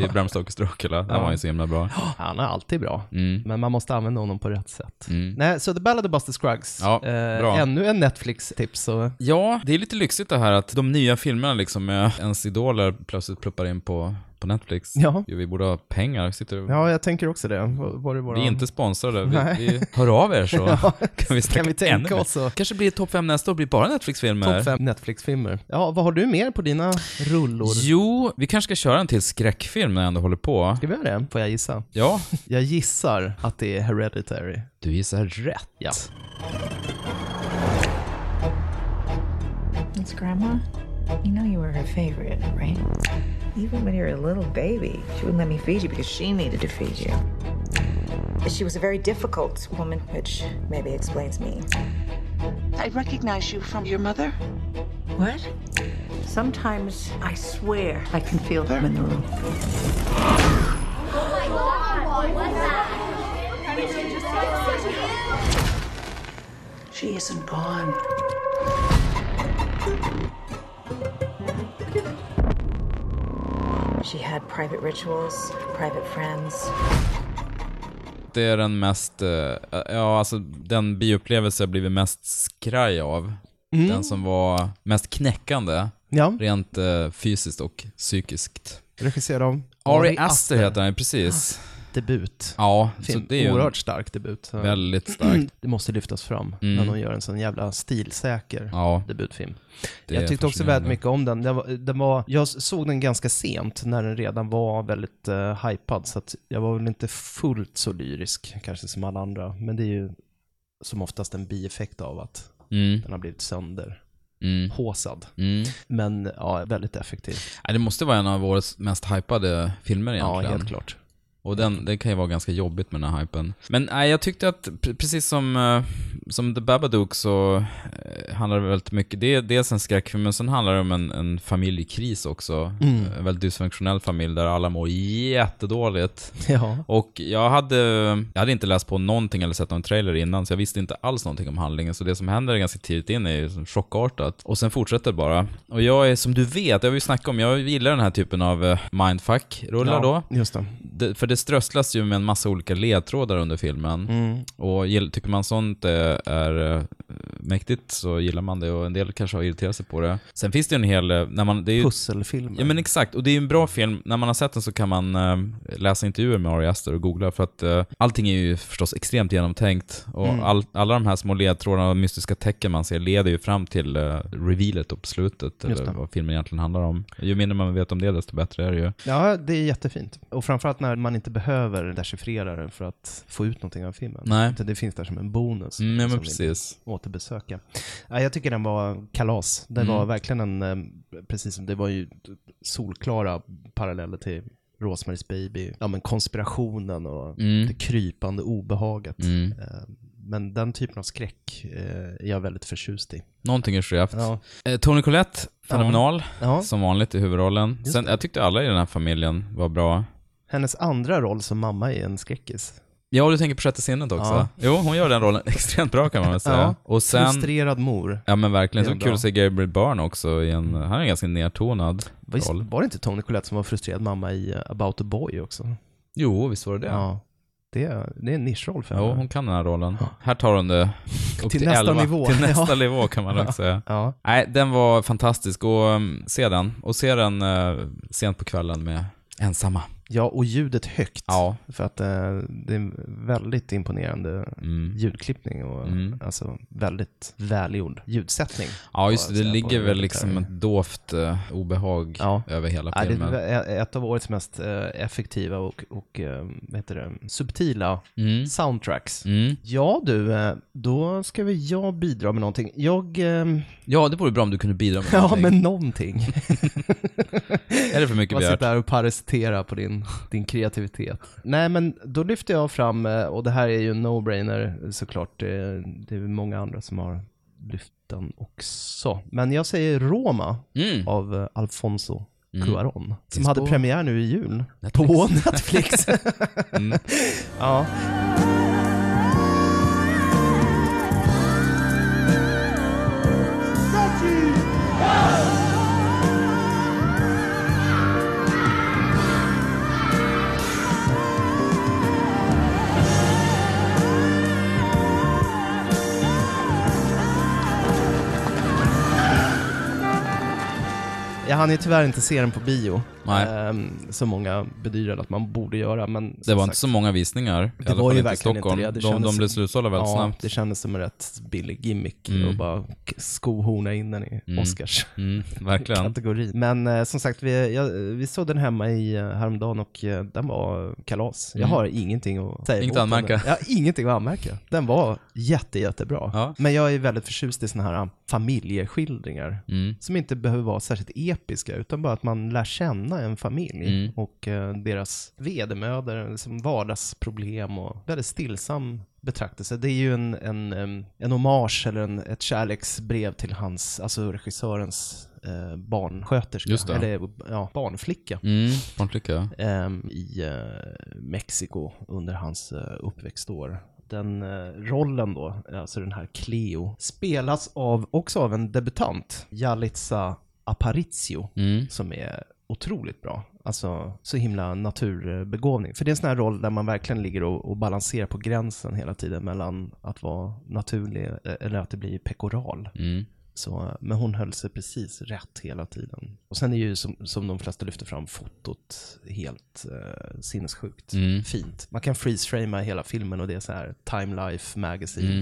[SPEAKER 1] i, i Bram Stokers Dracula. Den var ju så himla bra.
[SPEAKER 2] Han är alltid bra, men man måste använda honom på rätt sätt.
[SPEAKER 1] Mm.
[SPEAKER 2] Nej, så The Ballad of Buster Scruggs. Eh,
[SPEAKER 1] Ja, bra.
[SPEAKER 2] ännu en Netflix-tips. Och,
[SPEAKER 1] Ja, det är lite lyxigt det här att de nya filmerna liksom med ens idoler plötsligt pluppar in på, på Netflix.
[SPEAKER 2] Ja.
[SPEAKER 1] Jo, vi borde ha pengar. Sitter och...
[SPEAKER 2] ja, jag tänker också det. Var, var det våra...
[SPEAKER 1] Vi är inte sponsrade.
[SPEAKER 2] Nej.
[SPEAKER 1] Vi, vi hör av er så
[SPEAKER 2] Ja,
[SPEAKER 1] kan vi snacka
[SPEAKER 2] kan vi tänka
[SPEAKER 1] ännu mer.
[SPEAKER 2] oss att-
[SPEAKER 1] Kanske blir det topp fem nästa år, blir bara Netflix-filmer.
[SPEAKER 2] Topp fem Netflix-filmer. Ja, vad har du mer på dina rullor?
[SPEAKER 1] Jo, vi kanske ska köra en till skräckfilm när jag ändå håller på.
[SPEAKER 2] Ska vi göra det? Får jag gissa?
[SPEAKER 1] Ja,
[SPEAKER 2] Jag gissar att det är Hereditary.
[SPEAKER 1] du gissar rätt.
[SPEAKER 2] Ja.
[SPEAKER 10] It's Grandma. You know you were her favorite, right?
[SPEAKER 11] Even when you were a little baby, she wouldn't let me feed you because she needed to feed you.
[SPEAKER 10] She was a very difficult woman, which maybe explains me.
[SPEAKER 11] I recognize you from your mother. What? Sometimes I swear I can feel them in the room. She isn't gone.
[SPEAKER 10] She had private rituals, private friends.
[SPEAKER 1] Det är den mest, eh, ja alltså den bioupplevelse jag blivit mest skraj av.
[SPEAKER 2] Mm.
[SPEAKER 1] Den som var mest knäckande,
[SPEAKER 2] Ja.
[SPEAKER 1] rent eh, fysiskt och psykiskt.
[SPEAKER 2] Regisserad av
[SPEAKER 1] Ari Aster heter han ju, precis.
[SPEAKER 2] Debut.
[SPEAKER 1] Ja, så
[SPEAKER 2] Film.
[SPEAKER 1] det är ju en
[SPEAKER 2] Ah. Oerhört Mm. stark debut. Så
[SPEAKER 1] väldigt starkt.
[SPEAKER 2] Det måste lyftas fram när någon gör en sån jävla stilsäker
[SPEAKER 1] Mm. Ja,
[SPEAKER 2] debutfilm.
[SPEAKER 1] det är
[SPEAKER 2] jag tyckte också väldigt
[SPEAKER 1] fascinerande.
[SPEAKER 2] mycket om den. Den var, den var, jag såg den ganska sent när den redan var väldigt uh, hypad, så att jag var väl inte fullt så lyrisk kanske som alla andra. Men det är ju som oftast en bieffekt av att
[SPEAKER 1] Mm,
[SPEAKER 2] den har blivit sönder
[SPEAKER 1] mm,
[SPEAKER 2] håsad.
[SPEAKER 1] mm.
[SPEAKER 2] Men ja, väldigt effektiv.
[SPEAKER 1] Nej, Det måste vara en av årets mest hypade filmer egentligen.
[SPEAKER 2] Ja, helt klart.
[SPEAKER 1] Och den, det kan ju vara ganska jobbigt med den här hypen. Men nej, jag tyckte att pre- precis som, eh, som The Babadook så eh, handlar det väldigt mycket, det är dels en skräckfilm, men sen handlar det om en, en familjekris också. Eh,
[SPEAKER 2] Mm.
[SPEAKER 1] En väldigt dysfunktionell familj där alla mår jättedåligt.
[SPEAKER 2] Ja.
[SPEAKER 1] Och jag hade, jag hade inte läst på någonting eller sett någon trailer innan, så jag visste inte alls någonting om handlingen. Så det som händer ganska tidigt in är ju som chockartat. Och sen fortsätter det bara. Och jag är, som du vet, jag har ju snackat om, jag gillar den här typen av eh, mindfuck-rullar då.
[SPEAKER 2] Just det.
[SPEAKER 1] Det, för det strösslas ju med en massa olika ledtrådar under filmen.
[SPEAKER 2] Mm.
[SPEAKER 1] Och gill- tycker man sånt eh, är eh, mäktigt så gillar man det och en del kanske har irriterat sig på det. Sen finns det ju en hel, eh, när man, det är ju,
[SPEAKER 2] Pusselfilmer.
[SPEAKER 1] Ja men exakt, och det är ju en bra film. När man har sett den så kan man eh, läsa intervjuer med Ari Aster och googla för att eh, allting är ju förstås extremt genomtänkt och
[SPEAKER 2] Mm.
[SPEAKER 1] all, alla de här små ledtrådarna och mystiska tecken man ser leder ju fram till eh, revealet då på slutet,
[SPEAKER 2] Just
[SPEAKER 1] eller
[SPEAKER 2] det.
[SPEAKER 1] vad filmen egentligen handlar om. Ju mindre man vet om det desto bättre är det ju.
[SPEAKER 2] Ja, det är jättefint. Och framförallt när man inte behöver dechiffrera den för att få ut någonting av filmen.
[SPEAKER 1] Nej.
[SPEAKER 2] Utan det finns där som en bonus.
[SPEAKER 1] Mm, ja
[SPEAKER 2] som
[SPEAKER 1] men
[SPEAKER 2] vi
[SPEAKER 1] precis.
[SPEAKER 2] Återbesöka. Ja, jag tycker den var kalas. Det
[SPEAKER 1] Mm.
[SPEAKER 2] var verkligen en, eh, precis som det var ju solklara paralleller till Rosemary's Baby. Ja men konspirationen och
[SPEAKER 1] Mm.
[SPEAKER 2] det krypande obehaget.
[SPEAKER 1] Mm.
[SPEAKER 2] Eh, Men den typen av skräck eh, är jag väldigt förtjust i.
[SPEAKER 1] Någonting är skevt.
[SPEAKER 2] Ja.
[SPEAKER 1] Eh, Tony Collette, fenomenal.
[SPEAKER 2] Ja.
[SPEAKER 1] Som vanligt i huvudrollen. Sen, jag tyckte alla i den här familjen var bra.
[SPEAKER 2] Hennes andra roll som mamma är en skräckis.
[SPEAKER 1] Ja, du tänker på Sjätte sinnet också?
[SPEAKER 2] Ja.
[SPEAKER 1] Jo, hon gör den rollen extremt bra kan man väl säga.
[SPEAKER 2] Ja.
[SPEAKER 1] Och sen...
[SPEAKER 2] Frustrerad mor.
[SPEAKER 1] Ja men verkligen,
[SPEAKER 2] Det
[SPEAKER 1] så
[SPEAKER 2] är en
[SPEAKER 1] kul
[SPEAKER 2] bra.
[SPEAKER 1] att se Gabriel Byrne också i en, han är en ganska nedtonad
[SPEAKER 2] Visst,
[SPEAKER 1] roll.
[SPEAKER 2] var det inte Tony Collette som var frustrerad mamma i eh, About a Boy också?
[SPEAKER 1] Jo, visst var det det?
[SPEAKER 2] Det, är- det är en nischroll för
[SPEAKER 1] Jo,
[SPEAKER 2] henne.
[SPEAKER 1] hon kan den här rollen. Här tar hon det upp till,
[SPEAKER 2] Till nästa
[SPEAKER 1] 11.
[SPEAKER 2] nivå.
[SPEAKER 1] Till nästa
[SPEAKER 2] Ja.
[SPEAKER 1] nivå kan man nog säga.
[SPEAKER 2] Ja,
[SPEAKER 1] Nej, den var fantastisk och um, se den. Och se den eh, sent på kvällen med ensamma.
[SPEAKER 2] ja, och ljudet högt.
[SPEAKER 1] Ja.
[SPEAKER 2] För att eh, det är en väldigt imponerande
[SPEAKER 1] Mm.
[SPEAKER 2] ljudklippning och
[SPEAKER 1] Mm.
[SPEAKER 2] alltså väldigt välgjord ljudsättning.
[SPEAKER 1] Ja, just det.
[SPEAKER 2] Bara
[SPEAKER 1] Det
[SPEAKER 2] så här
[SPEAKER 1] ligger
[SPEAKER 2] på
[SPEAKER 1] väl
[SPEAKER 2] det
[SPEAKER 1] liksom
[SPEAKER 2] där.
[SPEAKER 1] ett dovt eh, obehag
[SPEAKER 2] Ja.
[SPEAKER 1] över hela
[SPEAKER 2] Ja, det
[SPEAKER 1] filmen.
[SPEAKER 2] är ett av årets mest eh, effektiva och, och eh, vad heter det, subtila
[SPEAKER 1] Mm.
[SPEAKER 2] soundtracks.
[SPEAKER 1] Mm.
[SPEAKER 2] Ja du, eh, då ska väl jag bidra med någonting. Jag, ehm,
[SPEAKER 1] Ja, det vore bra om du kunde bidra med
[SPEAKER 2] ja
[SPEAKER 1] någonting.
[SPEAKER 2] men någonting.
[SPEAKER 1] Är det för mycket
[SPEAKER 2] Man
[SPEAKER 1] begärt?
[SPEAKER 2] sitter här och parasiterar på din, din kreativitet. Nej, men då lyfter jag fram, eh, och det här är ju en no-brainer eh, såklart, eh, det är ju många andra som har lyft den också. Men jag säger Roma
[SPEAKER 1] Mm.
[SPEAKER 2] av eh, Alfonso Cuaron, som
[SPEAKER 1] Finns
[SPEAKER 2] hade
[SPEAKER 1] på-
[SPEAKER 2] premiär nu i jul.
[SPEAKER 1] Netflix.
[SPEAKER 2] På Netflix.
[SPEAKER 1] Mm.
[SPEAKER 2] ja. Jag hann ju tyvärr inte se den på bio,
[SPEAKER 1] Nej.
[SPEAKER 2] ehm, som många bedyrade att man borde göra, men
[SPEAKER 1] Det
[SPEAKER 2] som
[SPEAKER 1] var
[SPEAKER 2] sagt,
[SPEAKER 1] inte så många visningar. i
[SPEAKER 2] Det
[SPEAKER 1] alla
[SPEAKER 2] var
[SPEAKER 1] fall
[SPEAKER 2] ju
[SPEAKER 1] inte i
[SPEAKER 2] verkligen
[SPEAKER 1] Stockholm.
[SPEAKER 2] inte det. det
[SPEAKER 1] de,
[SPEAKER 2] kändes-
[SPEAKER 1] de blev slutsålda väldigt
[SPEAKER 2] ja,
[SPEAKER 1] snabbt.
[SPEAKER 2] det kändes som en rätt billig gimmick
[SPEAKER 1] Mm.
[SPEAKER 2] och bara k- skohorna in den i
[SPEAKER 1] Mm.
[SPEAKER 2] Oscars.
[SPEAKER 1] Mm, verkligen.
[SPEAKER 2] Kategori. Men eh, som sagt, vi, jag, vi såg den hemma i eh, häromdagen och eh, den var kalas. Jag
[SPEAKER 1] Mm.
[SPEAKER 2] har ingenting att säga
[SPEAKER 1] Inget
[SPEAKER 2] emot
[SPEAKER 1] att anmärka.
[SPEAKER 2] Den. Jag har ingenting att anmärka. Den var jätte, jättebra.
[SPEAKER 1] Ja.
[SPEAKER 2] Men jag är väldigt förtjust i såna här eh, familjeskildringar
[SPEAKER 1] Mm.
[SPEAKER 2] som inte behöver vara särskilt episka, utan bara att man lär känna en familj
[SPEAKER 1] Mm.
[SPEAKER 2] och eh, deras vedermödor, liksom vardagsproblem och väldigt stillsam betraktelse. Det är ju en, en, em, en hommage eller en, ett kärleksbrev till hans, alltså regissörens eh, barnsköterska,
[SPEAKER 1] Just det.
[SPEAKER 2] eller ja, barnflicka.
[SPEAKER 1] Mm, barnflicka.
[SPEAKER 2] em, Ehm, i eh, Mexiko under hans eh, uppväxtår. Den eh, rollen då, alltså den här Cleo, spelas av, också av en debutant, Jalitza Aparicio,
[SPEAKER 1] Mm.
[SPEAKER 2] som är otroligt bra. Alltså så himla naturbegåvning. För det är en sån här roll där man verkligen ligger och, och balanserar på gränsen hela tiden mellan att vara naturlig eh, eller att det blir pekoral.
[SPEAKER 1] Mm.
[SPEAKER 2] Så, men hon höll sig precis rätt hela tiden. Och sen är ju som, som de flesta lyfter fram fotot helt eh, sinnessjukt
[SPEAKER 1] Mm.
[SPEAKER 2] fint. Man kan freeze-framea hela filmen och det är så här Time Life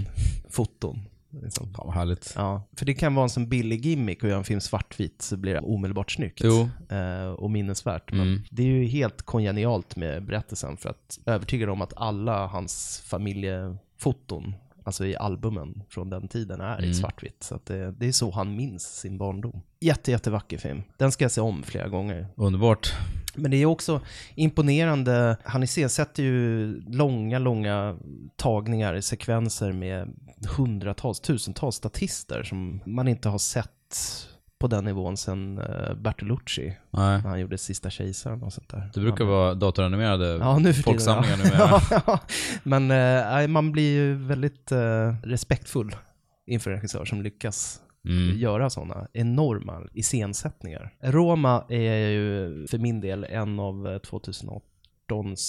[SPEAKER 2] Magazine-foton. Liksom.
[SPEAKER 1] Ja, vad härligt.
[SPEAKER 2] Ja, för det kan vara en sån billig gimmick och göra en film svartvit så blir det omedelbart snyggt
[SPEAKER 1] Jo.
[SPEAKER 2] eh, och minnesvärt. Men
[SPEAKER 1] Mm.
[SPEAKER 2] det är ju helt kongenialt med berättelsen för att övertyga om att alla hans familjefoton, alltså i albumen från den tiden, är i
[SPEAKER 1] Mm.
[SPEAKER 2] svartvitt. Så att det, det är så han minns sin barndom. Jätte, jättevacker film. Den ska jag se om flera gånger.
[SPEAKER 1] Underbart.
[SPEAKER 2] Men det är också imponerande. Han iscensätter ju långa, långa tagningar, sekvenser med hundratals, tusentals statister som man inte har sett på den nivån sedan eh, Bertolucci,
[SPEAKER 1] Nej.
[SPEAKER 2] när han gjorde Sista kejsaren och sånt där.
[SPEAKER 1] Det brukar vara datoranimerade
[SPEAKER 2] Ja, nu för tiden.
[SPEAKER 1] folksamlingar
[SPEAKER 2] ja.
[SPEAKER 1] numera.
[SPEAKER 2] Ja, Men eh, nej, man blir ju väldigt eh, respektfull inför en regissör som lyckas
[SPEAKER 1] Mm.
[SPEAKER 2] göra sådana enorma iscensättningar. Roma är ju för min del en av eh, 2018s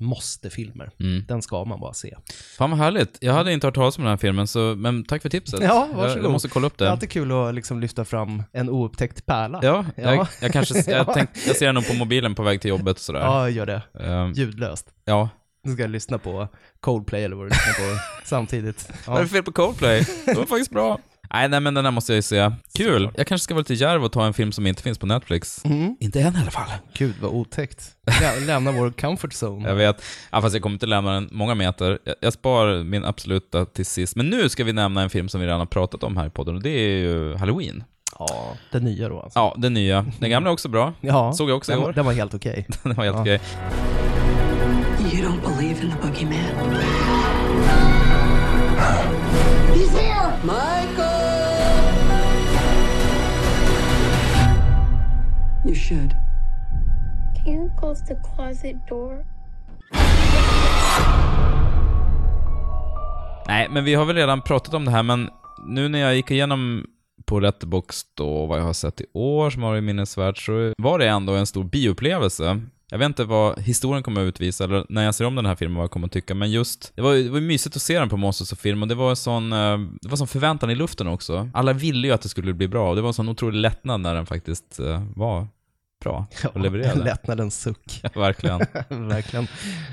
[SPEAKER 2] måste-filmer.
[SPEAKER 1] Mm.
[SPEAKER 2] Den ska man bara se.
[SPEAKER 1] Fan vad härligt. Jag hade inte hört talas om den här filmen, så, men tack för tipset.
[SPEAKER 2] Ja,
[SPEAKER 1] Jag,
[SPEAKER 2] varsågod.
[SPEAKER 1] jag måste kolla upp
[SPEAKER 2] Det är
[SPEAKER 1] det.
[SPEAKER 2] alltid kul att liksom lyfta fram en oupptäckt pärla.
[SPEAKER 1] Ja,
[SPEAKER 2] Ja.
[SPEAKER 1] jag, jag kanske,
[SPEAKER 2] Ja.
[SPEAKER 1] jag, tänkte, jag ser den nog på mobilen på väg till jobbet och sådär.
[SPEAKER 2] ja gör det.
[SPEAKER 1] Ehm,
[SPEAKER 2] Ljudlöst.
[SPEAKER 1] ja.
[SPEAKER 2] Nu ska jag lyssna på Coldplay eller vad du lyssnar på samtidigt.
[SPEAKER 1] Vad är
[SPEAKER 2] Ja.
[SPEAKER 1] det fel på Coldplay? De var faktiskt bra. Nej, nej, men den här måste jag ju se. Kul! Jag kanske ska vara lite djärv och ta en film som inte finns på Netflix.
[SPEAKER 2] Mm.
[SPEAKER 1] Inte än i alla fall.
[SPEAKER 2] Gud vad otäckt. Lä- Lämna vår comfort zone.
[SPEAKER 1] Jag vet. Ja, fast jag kommer inte lämna den många meter. Jag, jag spar min absoluta till sist. Men nu ska vi nämna en film som vi redan har pratat om här i podden och det är ju Halloween.
[SPEAKER 2] Ja, den nya då alltså.
[SPEAKER 1] Ja, den nya. Den gamla är också bra.
[SPEAKER 2] Ja,
[SPEAKER 1] Såg jag också i
[SPEAKER 2] den, var-
[SPEAKER 1] år.
[SPEAKER 2] den var helt okej.
[SPEAKER 1] Den var helt
[SPEAKER 2] Ja.
[SPEAKER 1] okej.
[SPEAKER 12] You don't believe in the boogeyman?
[SPEAKER 13] He's here!
[SPEAKER 12] You should.
[SPEAKER 13] Can you close the closet door?
[SPEAKER 1] Nej, men vi har väl redan pratat om det här, men nu när jag gick igenom på Letterboxd då vad jag har sett i år som har varit minnesvärt så var det ändå en stor bioupplevelse. Jag vet inte vad historien kommer att utvisa eller när jag ser om den här filmen vad jag kommer att tycka, men just det var, det var ju mysigt att se den på Monsters och film och det var en sån, eh, det var en sån förväntan i luften också. Alla ville ju att det skulle bli bra och det var en sån otrolig lättnad när den faktiskt eh, var bra och levererade.
[SPEAKER 2] Lättnadens suck.
[SPEAKER 1] Verkligen.
[SPEAKER 2] Verkligen.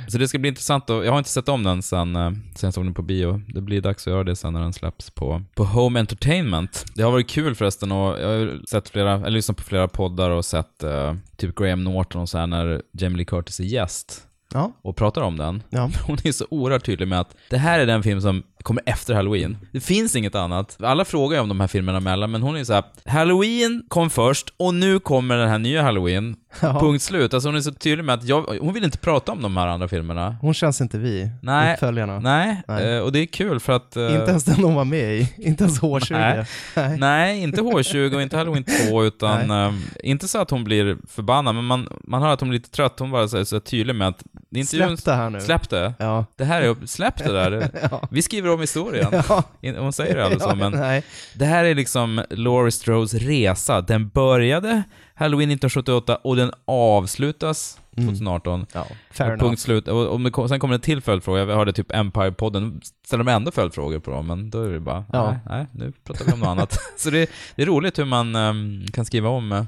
[SPEAKER 1] Så det ska bli intressant att, jag har inte sett om den sen, eh, sen jag såg den på bio. Det blir dags att göra det sen när den släpps på, på Home Entertainment. Det har varit kul förresten och jag har ju sett flera, eller lyssnat på flera poddar och sett eh, typ Graham Norton och så här när Jamie Lee Curtis är gäst
[SPEAKER 2] Ja.
[SPEAKER 1] och pratar om den.
[SPEAKER 2] Ja.
[SPEAKER 1] Hon är så oerhört tydlig med att det här är den film som kommer efter Halloween. Det finns inget annat. Alla frågar ju om de här filmerna emellan, men hon är så här, Halloween kom först och nu kommer den här nya Halloween. Punkt slut. Alltså hon är så tydlig med att jag, hon vill inte prata om de här andra filmerna.
[SPEAKER 2] Hon känns inte vi,
[SPEAKER 1] Nej.
[SPEAKER 2] uppföljarna.
[SPEAKER 1] Nej,
[SPEAKER 2] Nej.
[SPEAKER 1] eh, och det är kul för att... eh,
[SPEAKER 2] Inte ens den hon var med i. Inte ens H20.
[SPEAKER 1] Nej. Nej, inte H20 och inte Halloween 2, utan eh, inte så att hon blir förbannad, men man, man hör att hon är lite trött. Hon bara så, så tydlig med att... det är inte-
[SPEAKER 2] Släpp det här nu.
[SPEAKER 1] Släpp det.
[SPEAKER 2] Ja.
[SPEAKER 1] Det här är, släpp det där. Vi skriver om historien.
[SPEAKER 2] Ja.
[SPEAKER 1] In- Hon säger det aldrig
[SPEAKER 2] Ja,
[SPEAKER 1] så, men
[SPEAKER 2] nej.
[SPEAKER 1] det här är liksom Laurie Strodes resa. Den började Halloween 1978 och den avslutas
[SPEAKER 2] Mm.
[SPEAKER 1] 2018.
[SPEAKER 2] fair
[SPEAKER 1] Och punkt
[SPEAKER 2] enough.
[SPEAKER 1] slut. Och, och det kom, sen kommer det en till följdfråga. Jag hörde typ Empire-podden. Ställer de ändå följdfrågor på dem, men då är det bara,
[SPEAKER 2] Ja.
[SPEAKER 1] nej, nej, nu pratar vi om något annat. Så det, det är roligt hur man ehm, kan skriva om. eh,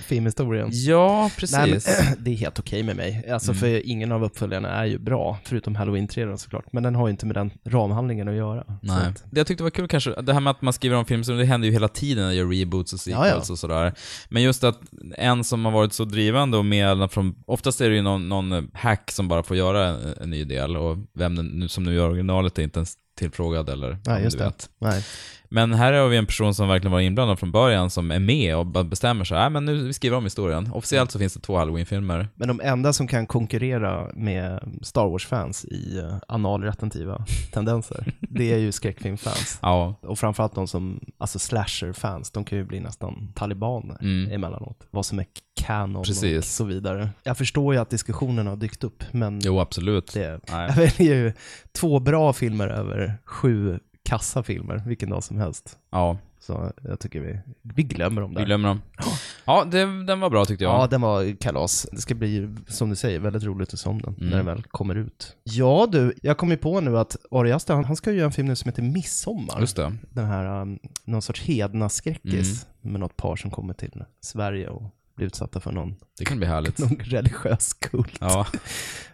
[SPEAKER 2] Filmhistorien.
[SPEAKER 1] Ja, precis.
[SPEAKER 2] Nej, men, det är helt okej med mig. Alltså,
[SPEAKER 1] Mm.
[SPEAKER 2] för ingen av uppföljarna är ju bra, förutom Halloween 3 då, såklart. Men den har ju inte med den ramhandlingen att göra. Så
[SPEAKER 1] Nej.
[SPEAKER 2] att-
[SPEAKER 1] Det jag tyckte var kul kanske, det här med att man skriver om film, så det händer ju hela tiden när jag gör reboots och sequels
[SPEAKER 2] Ja, ja.
[SPEAKER 1] och sådär. Men just att en som har varit så drivande och med, alla från, oftast är det ju någon, någon hack som bara får göra en, en ny del och vem den, nu- som nu gör originalet är inte ens tillfrågad eller
[SPEAKER 2] Nej,
[SPEAKER 1] om
[SPEAKER 2] just
[SPEAKER 1] du
[SPEAKER 2] det.
[SPEAKER 1] vet.
[SPEAKER 2] Nej.
[SPEAKER 1] Men här har vi en person som verkligen var inblandad från början, som är med och bara bestämmer sig, nej men nu vi skriver om historien. Officiellt så finns det två halloween-filmer.
[SPEAKER 2] Men de enda som kan konkurrera med Star Wars-fans i eh, analretentiva tendenser, det är ju skräckfilmfans.
[SPEAKER 1] Ja.
[SPEAKER 2] Och framförallt de som, alltså slasher-fans, de kan ju bli nästan talibaner
[SPEAKER 1] Mm.
[SPEAKER 2] emellanåt. Vad som är canon och
[SPEAKER 1] Precis.
[SPEAKER 2] så vidare. Jag förstår ju att diskussionen har dykt upp, men
[SPEAKER 1] Jo, absolut. Nej.
[SPEAKER 2] jag väljer ju två bra filmer över sju kassa filmer, vilken dag som helst.
[SPEAKER 1] Ja.
[SPEAKER 2] Så jag tycker vi, vi glömmer dem där.
[SPEAKER 1] Vi glömmer dem. Ja, det, den var bra tyckte jag.
[SPEAKER 2] Ja, den var kalas. Det ska bli, som du säger, väldigt roligt att se om den
[SPEAKER 1] Mm.
[SPEAKER 2] när den väl kommer ut. Ja du, jag kom ju på nu att Ari Aster, han, han ska ju göra en film nu som heter Midsommar.
[SPEAKER 1] Just det.
[SPEAKER 2] Den här, um, någon sorts hednaskräckis
[SPEAKER 1] Mm.
[SPEAKER 2] med något par som kommer till Sverige och blir utsatta för någon
[SPEAKER 1] Det kan bli härligt.
[SPEAKER 2] någon religiös kult.
[SPEAKER 1] Ja.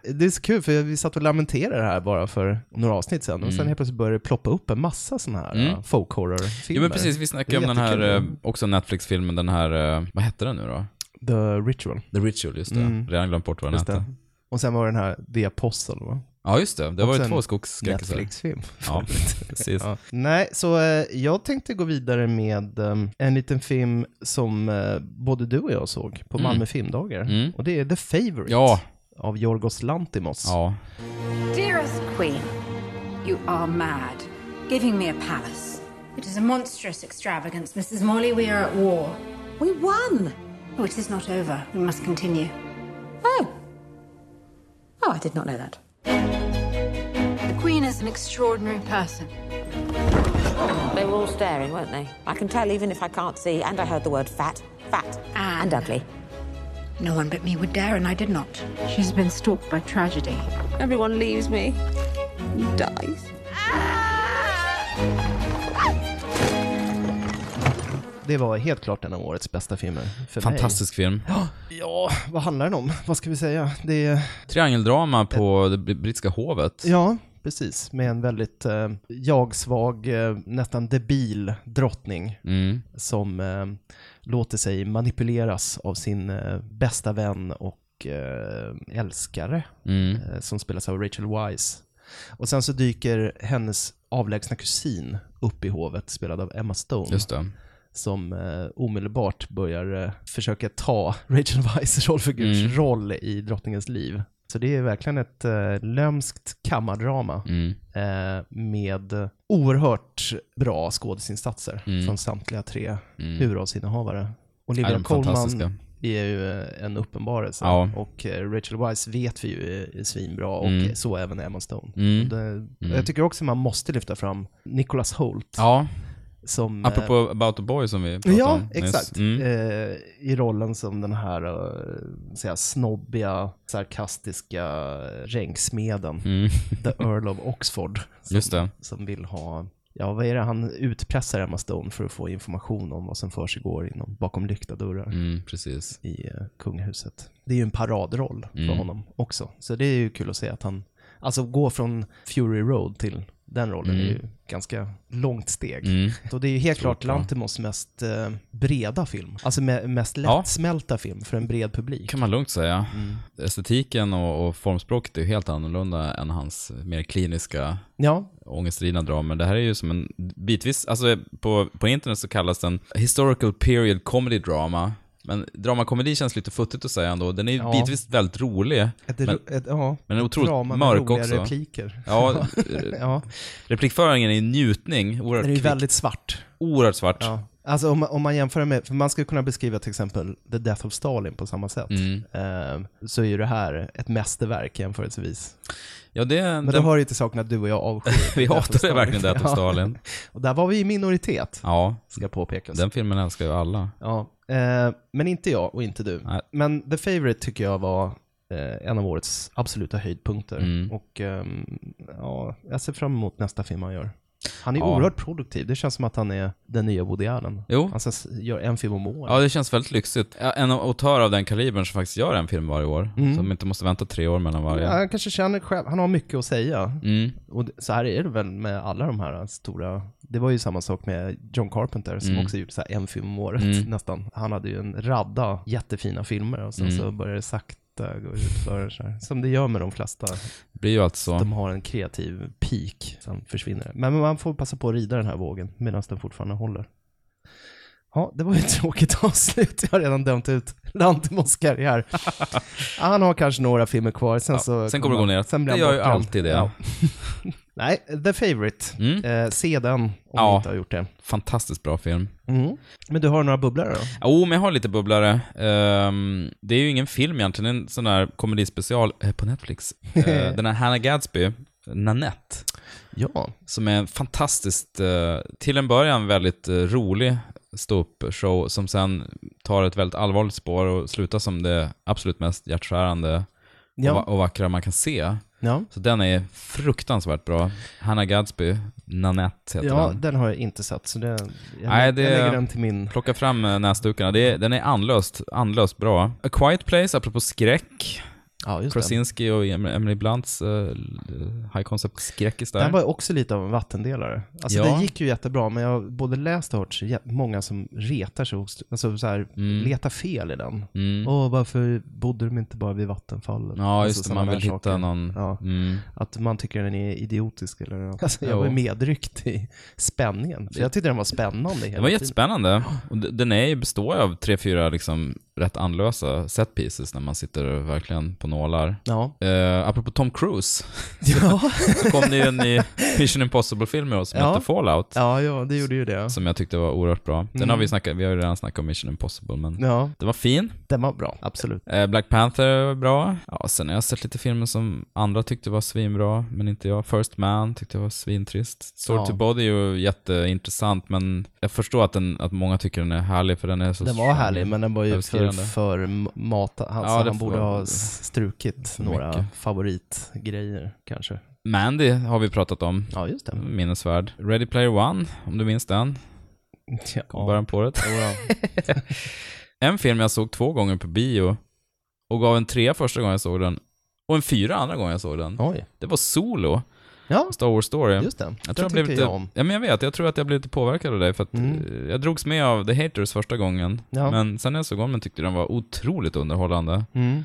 [SPEAKER 2] Det är så kul, för vi satt och lamenterade det här bara för några avsnitt sedan, och sen
[SPEAKER 1] Mm.
[SPEAKER 2] helt plötsligt började det ploppa upp en massa sådana här
[SPEAKER 1] Mm.
[SPEAKER 2] uh, folk horror-filmer.
[SPEAKER 1] Ja men precis, vi
[SPEAKER 2] Det
[SPEAKER 1] snackade
[SPEAKER 2] är
[SPEAKER 1] om den här, eh,
[SPEAKER 2] jättekul.
[SPEAKER 1] också Netflix-filmen, den här, eh, vad hette den nu då?
[SPEAKER 2] The Ritual.
[SPEAKER 1] The Ritual, just det.
[SPEAKER 2] Mm.
[SPEAKER 1] Redan glömt bort vad den
[SPEAKER 2] Just
[SPEAKER 1] hette.
[SPEAKER 2] det. Och sen var det den här The Apostle, va?
[SPEAKER 1] Ja just det, det var ju
[SPEAKER 2] Också
[SPEAKER 1] två
[SPEAKER 2] en
[SPEAKER 1] skogsskräckisar.
[SPEAKER 2] Netflix-film.
[SPEAKER 1] Ja, precis.
[SPEAKER 2] Ja. Nej, så eh, jag tänkte gå vidare med eh, en liten film som eh, både du och jag såg på
[SPEAKER 1] Mm.
[SPEAKER 2] Malmö filmdagar.
[SPEAKER 1] Mm.
[SPEAKER 2] Och det är The Favourite
[SPEAKER 1] Ja.
[SPEAKER 2] av Yorgos Lantimos.
[SPEAKER 1] Ja.
[SPEAKER 14] Dearest Queen, you are mad, giving me a palace. It is a monstrous extravagance, Mrs. Morley. We are at war. We won! Oh, it is not over. We must continue. Oh. Oh, I did not know that.
[SPEAKER 15] The Queen is an extraordinary person.
[SPEAKER 16] They were all staring, weren't they? I can tell even if I can't see, and I heard the word fat, fat, and, ugly.
[SPEAKER 14] No one but me would dare, and I did not.
[SPEAKER 15] She's been stalked by tragedy.
[SPEAKER 16] Everyone leaves me. Dies.
[SPEAKER 2] Det var helt klart en av årets bästa filmer för
[SPEAKER 1] Fantastisk film.
[SPEAKER 2] mig. Ja, vad handlar den om? Vad ska vi säga? Det är,
[SPEAKER 1] Triangeldrama på det br- brittiska hovet.
[SPEAKER 2] ja, precis, med en väldigt eh, jag-svag, eh, nästan debil drottning
[SPEAKER 1] Mm.
[SPEAKER 2] som eh, låter sig manipuleras av sin eh, bästa vän och eh, älskare
[SPEAKER 1] Mm.
[SPEAKER 2] eh, som spelas av Rachel Wise. Och sen så dyker hennes avlägsna kusin upp i hovet, spelad av Emma Stone.
[SPEAKER 1] Just det. Mm.
[SPEAKER 2] som eh, omedelbart börjar eh, försöka ta Rachel Weisz rollfigurs
[SPEAKER 1] Mm.
[SPEAKER 2] roll i drottningens liv. Så det är verkligen ett eh, lömskt kammardrama
[SPEAKER 1] Mm.
[SPEAKER 2] eh, med oerhört bra skådisinsatser
[SPEAKER 1] Mm.
[SPEAKER 2] från samtliga tre
[SPEAKER 1] Mm.
[SPEAKER 2] huvudrollsinnehavare.
[SPEAKER 1] Ja,
[SPEAKER 2] Olivia
[SPEAKER 1] de är fantastiska.
[SPEAKER 2] Colman är ju eh, en uppenbarelse
[SPEAKER 1] Ja.
[SPEAKER 2] och eh, Rachel Weisz vet vi ju är, är svinbra och
[SPEAKER 1] Mm.
[SPEAKER 2] så även Emma Stone.
[SPEAKER 1] Mm.
[SPEAKER 2] Och Det,
[SPEAKER 1] Mm.
[SPEAKER 2] Jag tycker också man måste lyfta fram Nicholas Holt.
[SPEAKER 1] Ja.
[SPEAKER 2] Som, eh,
[SPEAKER 1] Apropå About a Boy som vi pratade
[SPEAKER 2] Ja,
[SPEAKER 1] om nyss.
[SPEAKER 2] exakt.
[SPEAKER 1] Mm.
[SPEAKER 2] Eh, I rollen som den här eh, säga, snobbiga, sarkastiska ränksmeden,
[SPEAKER 1] Mm.
[SPEAKER 2] the Earl of Oxford, som,
[SPEAKER 1] Just det.
[SPEAKER 2] som vill ha Ja, vad är det han utpressar Emma Stone för att få information om vad som försiggår inom, bakom lyckta dörrar
[SPEAKER 1] Mm, precis.
[SPEAKER 2] i eh, kungahuset? Det är ju en paradroll
[SPEAKER 1] Mm.
[SPEAKER 2] för honom också, så det är ju kul att se att han, alltså gå från Fury Road till den rollen är
[SPEAKER 1] Mm.
[SPEAKER 2] ju ganska långt steg.
[SPEAKER 1] Mm.
[SPEAKER 2] Så det är ju helt
[SPEAKER 1] Klokt,
[SPEAKER 2] klart
[SPEAKER 1] va?
[SPEAKER 2] Lantimos mest eh, breda film. Alltså me- mest
[SPEAKER 1] Ja.
[SPEAKER 2] lättsmälta film för en bred publik.
[SPEAKER 1] kan man lugnt säga.
[SPEAKER 2] Mm.
[SPEAKER 1] Estetiken och, och formspråket är ju helt annorlunda än hans mer kliniska
[SPEAKER 2] Ja.
[SPEAKER 1] ångestdrivna dramer. Det här är ju som en bitvis, alltså på, på internet så kallas den historical period comedy drama. Men dramakomedi känns lite futtigt att säga ändå. Den är ju
[SPEAKER 2] Ja.
[SPEAKER 1] bitvis väldigt rolig.
[SPEAKER 2] Ett
[SPEAKER 1] men,
[SPEAKER 2] ro- ett- ja,
[SPEAKER 1] men den är
[SPEAKER 2] ett
[SPEAKER 1] otroligt
[SPEAKER 2] drama med
[SPEAKER 1] mörk
[SPEAKER 2] roliga
[SPEAKER 1] också.
[SPEAKER 2] repliker.
[SPEAKER 1] Ja,
[SPEAKER 2] Ja.
[SPEAKER 1] Replikföringen är en njutning. Oerhört
[SPEAKER 2] Den är ju
[SPEAKER 1] kvick.
[SPEAKER 2] väldigt svart.
[SPEAKER 1] Oerhört svart.
[SPEAKER 2] Alltså om, man- om man jämför med, för man skulle kunna beskriva till exempel The Death of Stalin på samma sätt,
[SPEAKER 1] Mm.
[SPEAKER 2] Ehm, så är ju det här ett mästerverk jämförelsevis.
[SPEAKER 1] Ja, det,
[SPEAKER 2] Men
[SPEAKER 1] den-
[SPEAKER 2] det hör ju till saken att du och jag avskyr
[SPEAKER 1] Vi
[SPEAKER 2] Death of
[SPEAKER 1] hatar
[SPEAKER 2] Stalin.
[SPEAKER 1] verkligen Death of
[SPEAKER 2] Ja.
[SPEAKER 1] Stalin.
[SPEAKER 2] och där var vi i minoritet.
[SPEAKER 1] Ja.
[SPEAKER 2] Ska påpekas.
[SPEAKER 1] Den filmen älskar ju alla.
[SPEAKER 2] Ja, eh, men inte jag och inte du. Men The Favourite tycker jag var eh, en av årets absoluta höjdpunkter.
[SPEAKER 1] Mm.
[SPEAKER 2] Och ehm, ja, jag ser fram emot nästa film han gör. Han är
[SPEAKER 1] Ja.
[SPEAKER 2] oerhört produktiv. Det känns som att han är den nya Woody Allen.
[SPEAKER 1] Jo.
[SPEAKER 2] Han så s- gör en film om året.
[SPEAKER 1] Ja, det känns väldigt lyxigt. Ja, En autör av den kalibern som faktiskt gör en film varje år.
[SPEAKER 2] Mm.
[SPEAKER 1] Som inte måste vänta tre år mellan varje.
[SPEAKER 2] Ja, han kanske känner själv, han har mycket att säga.
[SPEAKER 1] Mm.
[SPEAKER 2] Och det- så här är det väl med alla de här stora, det var ju samma sak med John Carpenter som
[SPEAKER 1] Mm.
[SPEAKER 2] också gjorde så här en film om året
[SPEAKER 1] Mm.
[SPEAKER 2] nästan. Han hade ju en radda jättefina filmer och sen
[SPEAKER 1] Mm.
[SPEAKER 2] så började det sakta gå utför så här. Som det gör med de flesta.
[SPEAKER 1] Det blir ju alltså- alltid så.
[SPEAKER 2] De har en kreativ peak, sen försvinner det. Men man får passa på att rida den här vågen medan den fortfarande håller. Ja, det var ju ett tråkigt avslut. Jag har redan dömt ut Lantimos karriär. Han har kanske några filmer kvar, sen så...
[SPEAKER 1] Sen kommer det gå ner.
[SPEAKER 2] alltså- Sen blir
[SPEAKER 1] det gör
[SPEAKER 2] han
[SPEAKER 1] ju
[SPEAKER 2] bortglömd.
[SPEAKER 1] alltid det. Mm.
[SPEAKER 2] Ja. Nej, The Favourite. Eh, se den om
[SPEAKER 1] Ja.
[SPEAKER 2] ni inte har gjort det.
[SPEAKER 1] Fantastiskt bra film.
[SPEAKER 2] Mm. Men du har några bubblare då?
[SPEAKER 1] Jo, men jag har lite bubblare. Ehm, det är ju ingen film egentligen, det är en sån där komedispecial eh, på Netflix. Eh, den här Hannah Gadsby, Nanette.
[SPEAKER 2] Ja.
[SPEAKER 1] Som är en fantastiskt, eh, till en början väldigt eh, rolig ståuppshow som sen tar ett väldigt allvarligt spår och slutar som det absolut mest hjärtskärande
[SPEAKER 2] Ja.
[SPEAKER 1] och, va- och vackra man kan se.
[SPEAKER 2] Ja.
[SPEAKER 1] Så den är fruktansvärt bra. Hannah Gadsby, Nanette heter
[SPEAKER 2] Ja,
[SPEAKER 1] den.
[SPEAKER 2] den har jag inte sett, så det, jag,
[SPEAKER 1] Nej,
[SPEAKER 2] jag lägger
[SPEAKER 1] det,
[SPEAKER 2] den till min...
[SPEAKER 1] Plocka fram eh, näsdukarna. Det, är- den är anlöst, anlöst bra. A Quiet Place, apropå skräck.
[SPEAKER 2] Ja, just det.
[SPEAKER 1] Krasinski och Em- Emily Blunts eh, l- high concept skräckis där.
[SPEAKER 2] Den var ju också lite av en vattendelare. Alltså
[SPEAKER 1] Ja.
[SPEAKER 2] den gick ju jättebra, men jag har både läst och hört så jä- många som retar sig, hos- alltså så här,
[SPEAKER 1] Mm.
[SPEAKER 2] letar fel i den.
[SPEAKER 1] Mm.
[SPEAKER 2] Åh, varför bodde de inte bara vid vattenfallet?
[SPEAKER 1] Ja,
[SPEAKER 2] Alltså
[SPEAKER 1] just det.
[SPEAKER 2] sådana
[SPEAKER 1] Man
[SPEAKER 2] där
[SPEAKER 1] vill hitta
[SPEAKER 2] saker.
[SPEAKER 1] någon...
[SPEAKER 2] Ja.
[SPEAKER 1] Mm.
[SPEAKER 2] Att man tycker den är idiotisk eller något. Alltså, jag
[SPEAKER 1] Jo.
[SPEAKER 2] var ju medryckt i spänningen. För jag tyckte den var spännande hela
[SPEAKER 1] Den var
[SPEAKER 2] tiden.
[SPEAKER 1] jättespännande. Och d- den är, ju- består ju av tre, fyra liksom rätt anlösa set pieces när man sitter verkligen på nålar.
[SPEAKER 2] Ja.
[SPEAKER 1] Eh, apropå Tom Cruise, så kom det ju en ny Mission Impossible-film i år som
[SPEAKER 2] Ja.
[SPEAKER 1] hette Fallout.
[SPEAKER 2] Ja, ja, det gjorde ju det.
[SPEAKER 1] Som jag tyckte var oerhört bra. Den
[SPEAKER 2] Mm.
[SPEAKER 1] har vi, snackat, vi har ju redan snackat om Mission Impossible, men
[SPEAKER 2] Ja.
[SPEAKER 1] den var fin.
[SPEAKER 2] Den var bra, absolut.
[SPEAKER 1] Eh, Black Panther var bra. Ja, sen har jag sett lite filmer som andra tyckte var svinbra, men inte jag. First Man tyckte jag var svintrist. Sword
[SPEAKER 2] Ja.
[SPEAKER 1] to Body är ju jätteintressant, men jag förstår att, den, att många tycker den är härlig, för den är så
[SPEAKER 2] Den var härlig, men den var ju för,
[SPEAKER 1] överskridande.
[SPEAKER 2] för matad. Han,
[SPEAKER 1] Ja,
[SPEAKER 2] så
[SPEAKER 1] det
[SPEAKER 2] han borde
[SPEAKER 1] får-
[SPEAKER 2] ha s- strukit
[SPEAKER 1] för
[SPEAKER 2] några
[SPEAKER 1] mycket.
[SPEAKER 2] favoritgrejer kanske.
[SPEAKER 1] Mandy har vi pratat om.
[SPEAKER 2] Ja, just det.
[SPEAKER 1] Mm. Minnesvärd. Ready Player One, om du minns den.
[SPEAKER 2] Ja.
[SPEAKER 1] Början på året. en film jag såg två gånger på bio och gav en trea första gången jag såg den och en fyra andra gången jag såg den.
[SPEAKER 2] Oj.
[SPEAKER 1] Det var Solo.
[SPEAKER 2] Ja.
[SPEAKER 1] Star Wars Story.
[SPEAKER 2] Just det.
[SPEAKER 1] Jag
[SPEAKER 2] Den
[SPEAKER 1] tror jag blev
[SPEAKER 2] tyckte
[SPEAKER 1] lite,
[SPEAKER 2] jag om. Mm.
[SPEAKER 1] Ja, men jag vet. Jag tror att jag blev lite påverkad av dig för att eh, jag drogs med av The Haters första gången.
[SPEAKER 2] Ja.
[SPEAKER 1] Men sen när jag såg om den tyckte jag den var otroligt underhållande.
[SPEAKER 2] Mm.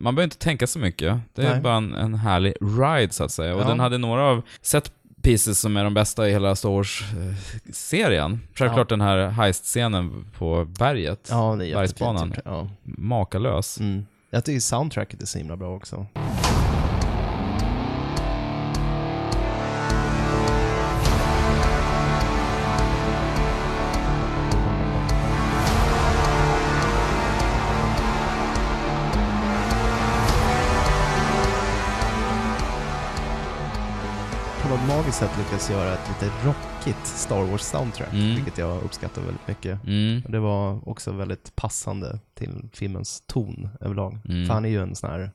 [SPEAKER 1] Man behöver inte tänka så mycket. Det är
[SPEAKER 2] Nej.
[SPEAKER 1] bara en, en härlig ride så att säga. Och
[SPEAKER 2] Ja.
[SPEAKER 1] den hade några av set pieces som är de bästa i hela Star Wars-serien. Självklart den här heist-scenen på berget.
[SPEAKER 2] Ja, det är jättefint
[SPEAKER 1] bergsbanan.
[SPEAKER 2] gjort, ja.
[SPEAKER 1] Makalös.
[SPEAKER 2] Mm. Jag tycker soundtracket är så himla bra också. Han har magiskt sett lyckats göra ett lite rockigt Star Wars-soundtrack,
[SPEAKER 1] Mm.
[SPEAKER 2] vilket jag uppskattar väldigt mycket.
[SPEAKER 1] Mm.
[SPEAKER 2] Och Det var också väldigt passande till filmens ton överlag.
[SPEAKER 1] Mm.
[SPEAKER 2] För han är ju en sån här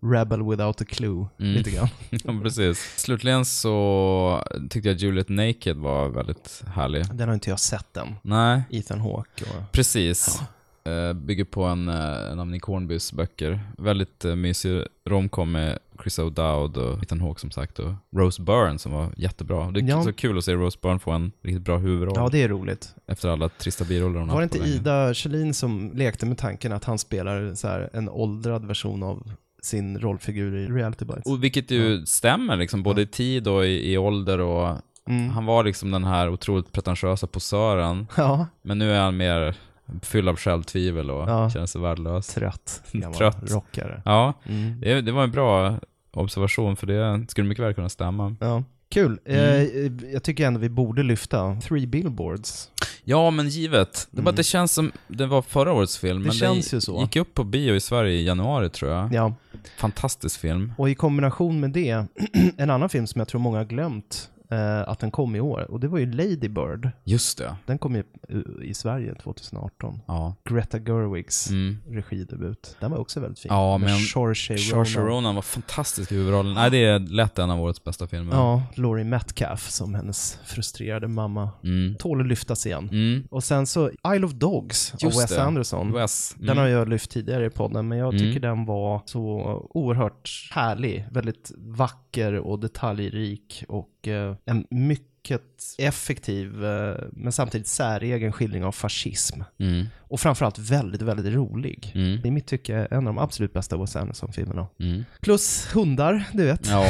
[SPEAKER 2] rebel without a clue,
[SPEAKER 1] Mm.
[SPEAKER 2] lite grann.
[SPEAKER 1] ja, precis. Slutligen så tyckte jag Juliet Naked var väldigt härlig.
[SPEAKER 2] Den har inte jag sett än.
[SPEAKER 1] Nej.
[SPEAKER 2] Ethan Hawke och...
[SPEAKER 1] Precis. Eh, Bygger på en, eh, en av Nick Hornbys böcker. Väldigt eh, mysig romcom med Chris O'Dowd och Ethan Hawke som sagt och Rose Byrne som var jättebra. Det är
[SPEAKER 2] Ja.
[SPEAKER 1] så kul att se Rose Byrne få en riktigt bra huvudroll.
[SPEAKER 2] Ja, det är roligt.
[SPEAKER 1] Efter alla trista biroller hon
[SPEAKER 2] Var det
[SPEAKER 1] haft på
[SPEAKER 2] inte
[SPEAKER 1] länge.
[SPEAKER 2] Ida Kjellin som lekte med tanken att han spelar så här en åldrad version av sin rollfigur i Reality Bites?
[SPEAKER 1] Och vilket ju stämmer, liksom, både i tid och i, i ålder. Och
[SPEAKER 2] Mm.
[SPEAKER 1] Han var liksom den här otroligt pretentiösa posören.
[SPEAKER 2] Ja.
[SPEAKER 1] Men nu är han mer Fylld av självtvivel och
[SPEAKER 2] Ja.
[SPEAKER 1] känner sig värdelös.
[SPEAKER 2] Trött. Gammal
[SPEAKER 1] Trött.
[SPEAKER 2] rockare.
[SPEAKER 1] Ja,
[SPEAKER 2] Mm.
[SPEAKER 1] det, det var en bra observation för det skulle mycket väl kunna stämma.
[SPEAKER 2] Ja. Kul.
[SPEAKER 1] Mm.
[SPEAKER 2] Eh, jag tycker ändå vi borde lyfta Three Billboards.
[SPEAKER 1] Ja, men givet. Det, bara, det känns som det var förra årets film,
[SPEAKER 2] Mm. Det
[SPEAKER 1] men
[SPEAKER 2] känns
[SPEAKER 1] den
[SPEAKER 2] ju så.
[SPEAKER 1] gick upp på bio i Sverige i januari tror jag.
[SPEAKER 2] Ja.
[SPEAKER 1] Fantastisk film.
[SPEAKER 2] Och i kombination med det, en annan film som jag tror många har glömt eh, att den kom i år, och det var ju Lady Bird.
[SPEAKER 1] Just det.
[SPEAKER 2] Den kom ju eh, i Sverige 2018.
[SPEAKER 1] Ja.
[SPEAKER 2] Greta Gerwigs
[SPEAKER 1] Mm.
[SPEAKER 2] regidebut. Den var också väldigt fin.
[SPEAKER 1] Ja, men
[SPEAKER 2] Saoirse
[SPEAKER 1] Saoirse
[SPEAKER 2] Ronan.
[SPEAKER 1] Ronan var fantastisk i huvudrollen. Nej, det är lätt en av årets bästa filmer.
[SPEAKER 2] Ja, Laurie Metcalf som hennes frustrerade mamma.
[SPEAKER 1] Mm.
[SPEAKER 2] Tål att lyftas igen. Och sen så Isle of Dogs
[SPEAKER 1] Just
[SPEAKER 2] av Wes
[SPEAKER 1] det.
[SPEAKER 2] Anderson.
[SPEAKER 1] Wes, mm.
[SPEAKER 2] Den har jag lyft tidigare i podden, men jag
[SPEAKER 1] Mm.
[SPEAKER 2] tycker den var så oerhört härlig. Väldigt vacker och detaljrik och eh, en mycket effektiv, eh, men samtidigt säregen skildring av fascism.
[SPEAKER 1] Mm.
[SPEAKER 2] Och framförallt väldigt, väldigt rolig. I mitt tycke en av de absolut bästa Wes Anderson-filmerna.
[SPEAKER 1] Mm.
[SPEAKER 2] Plus hundar, du vet.
[SPEAKER 1] Ja.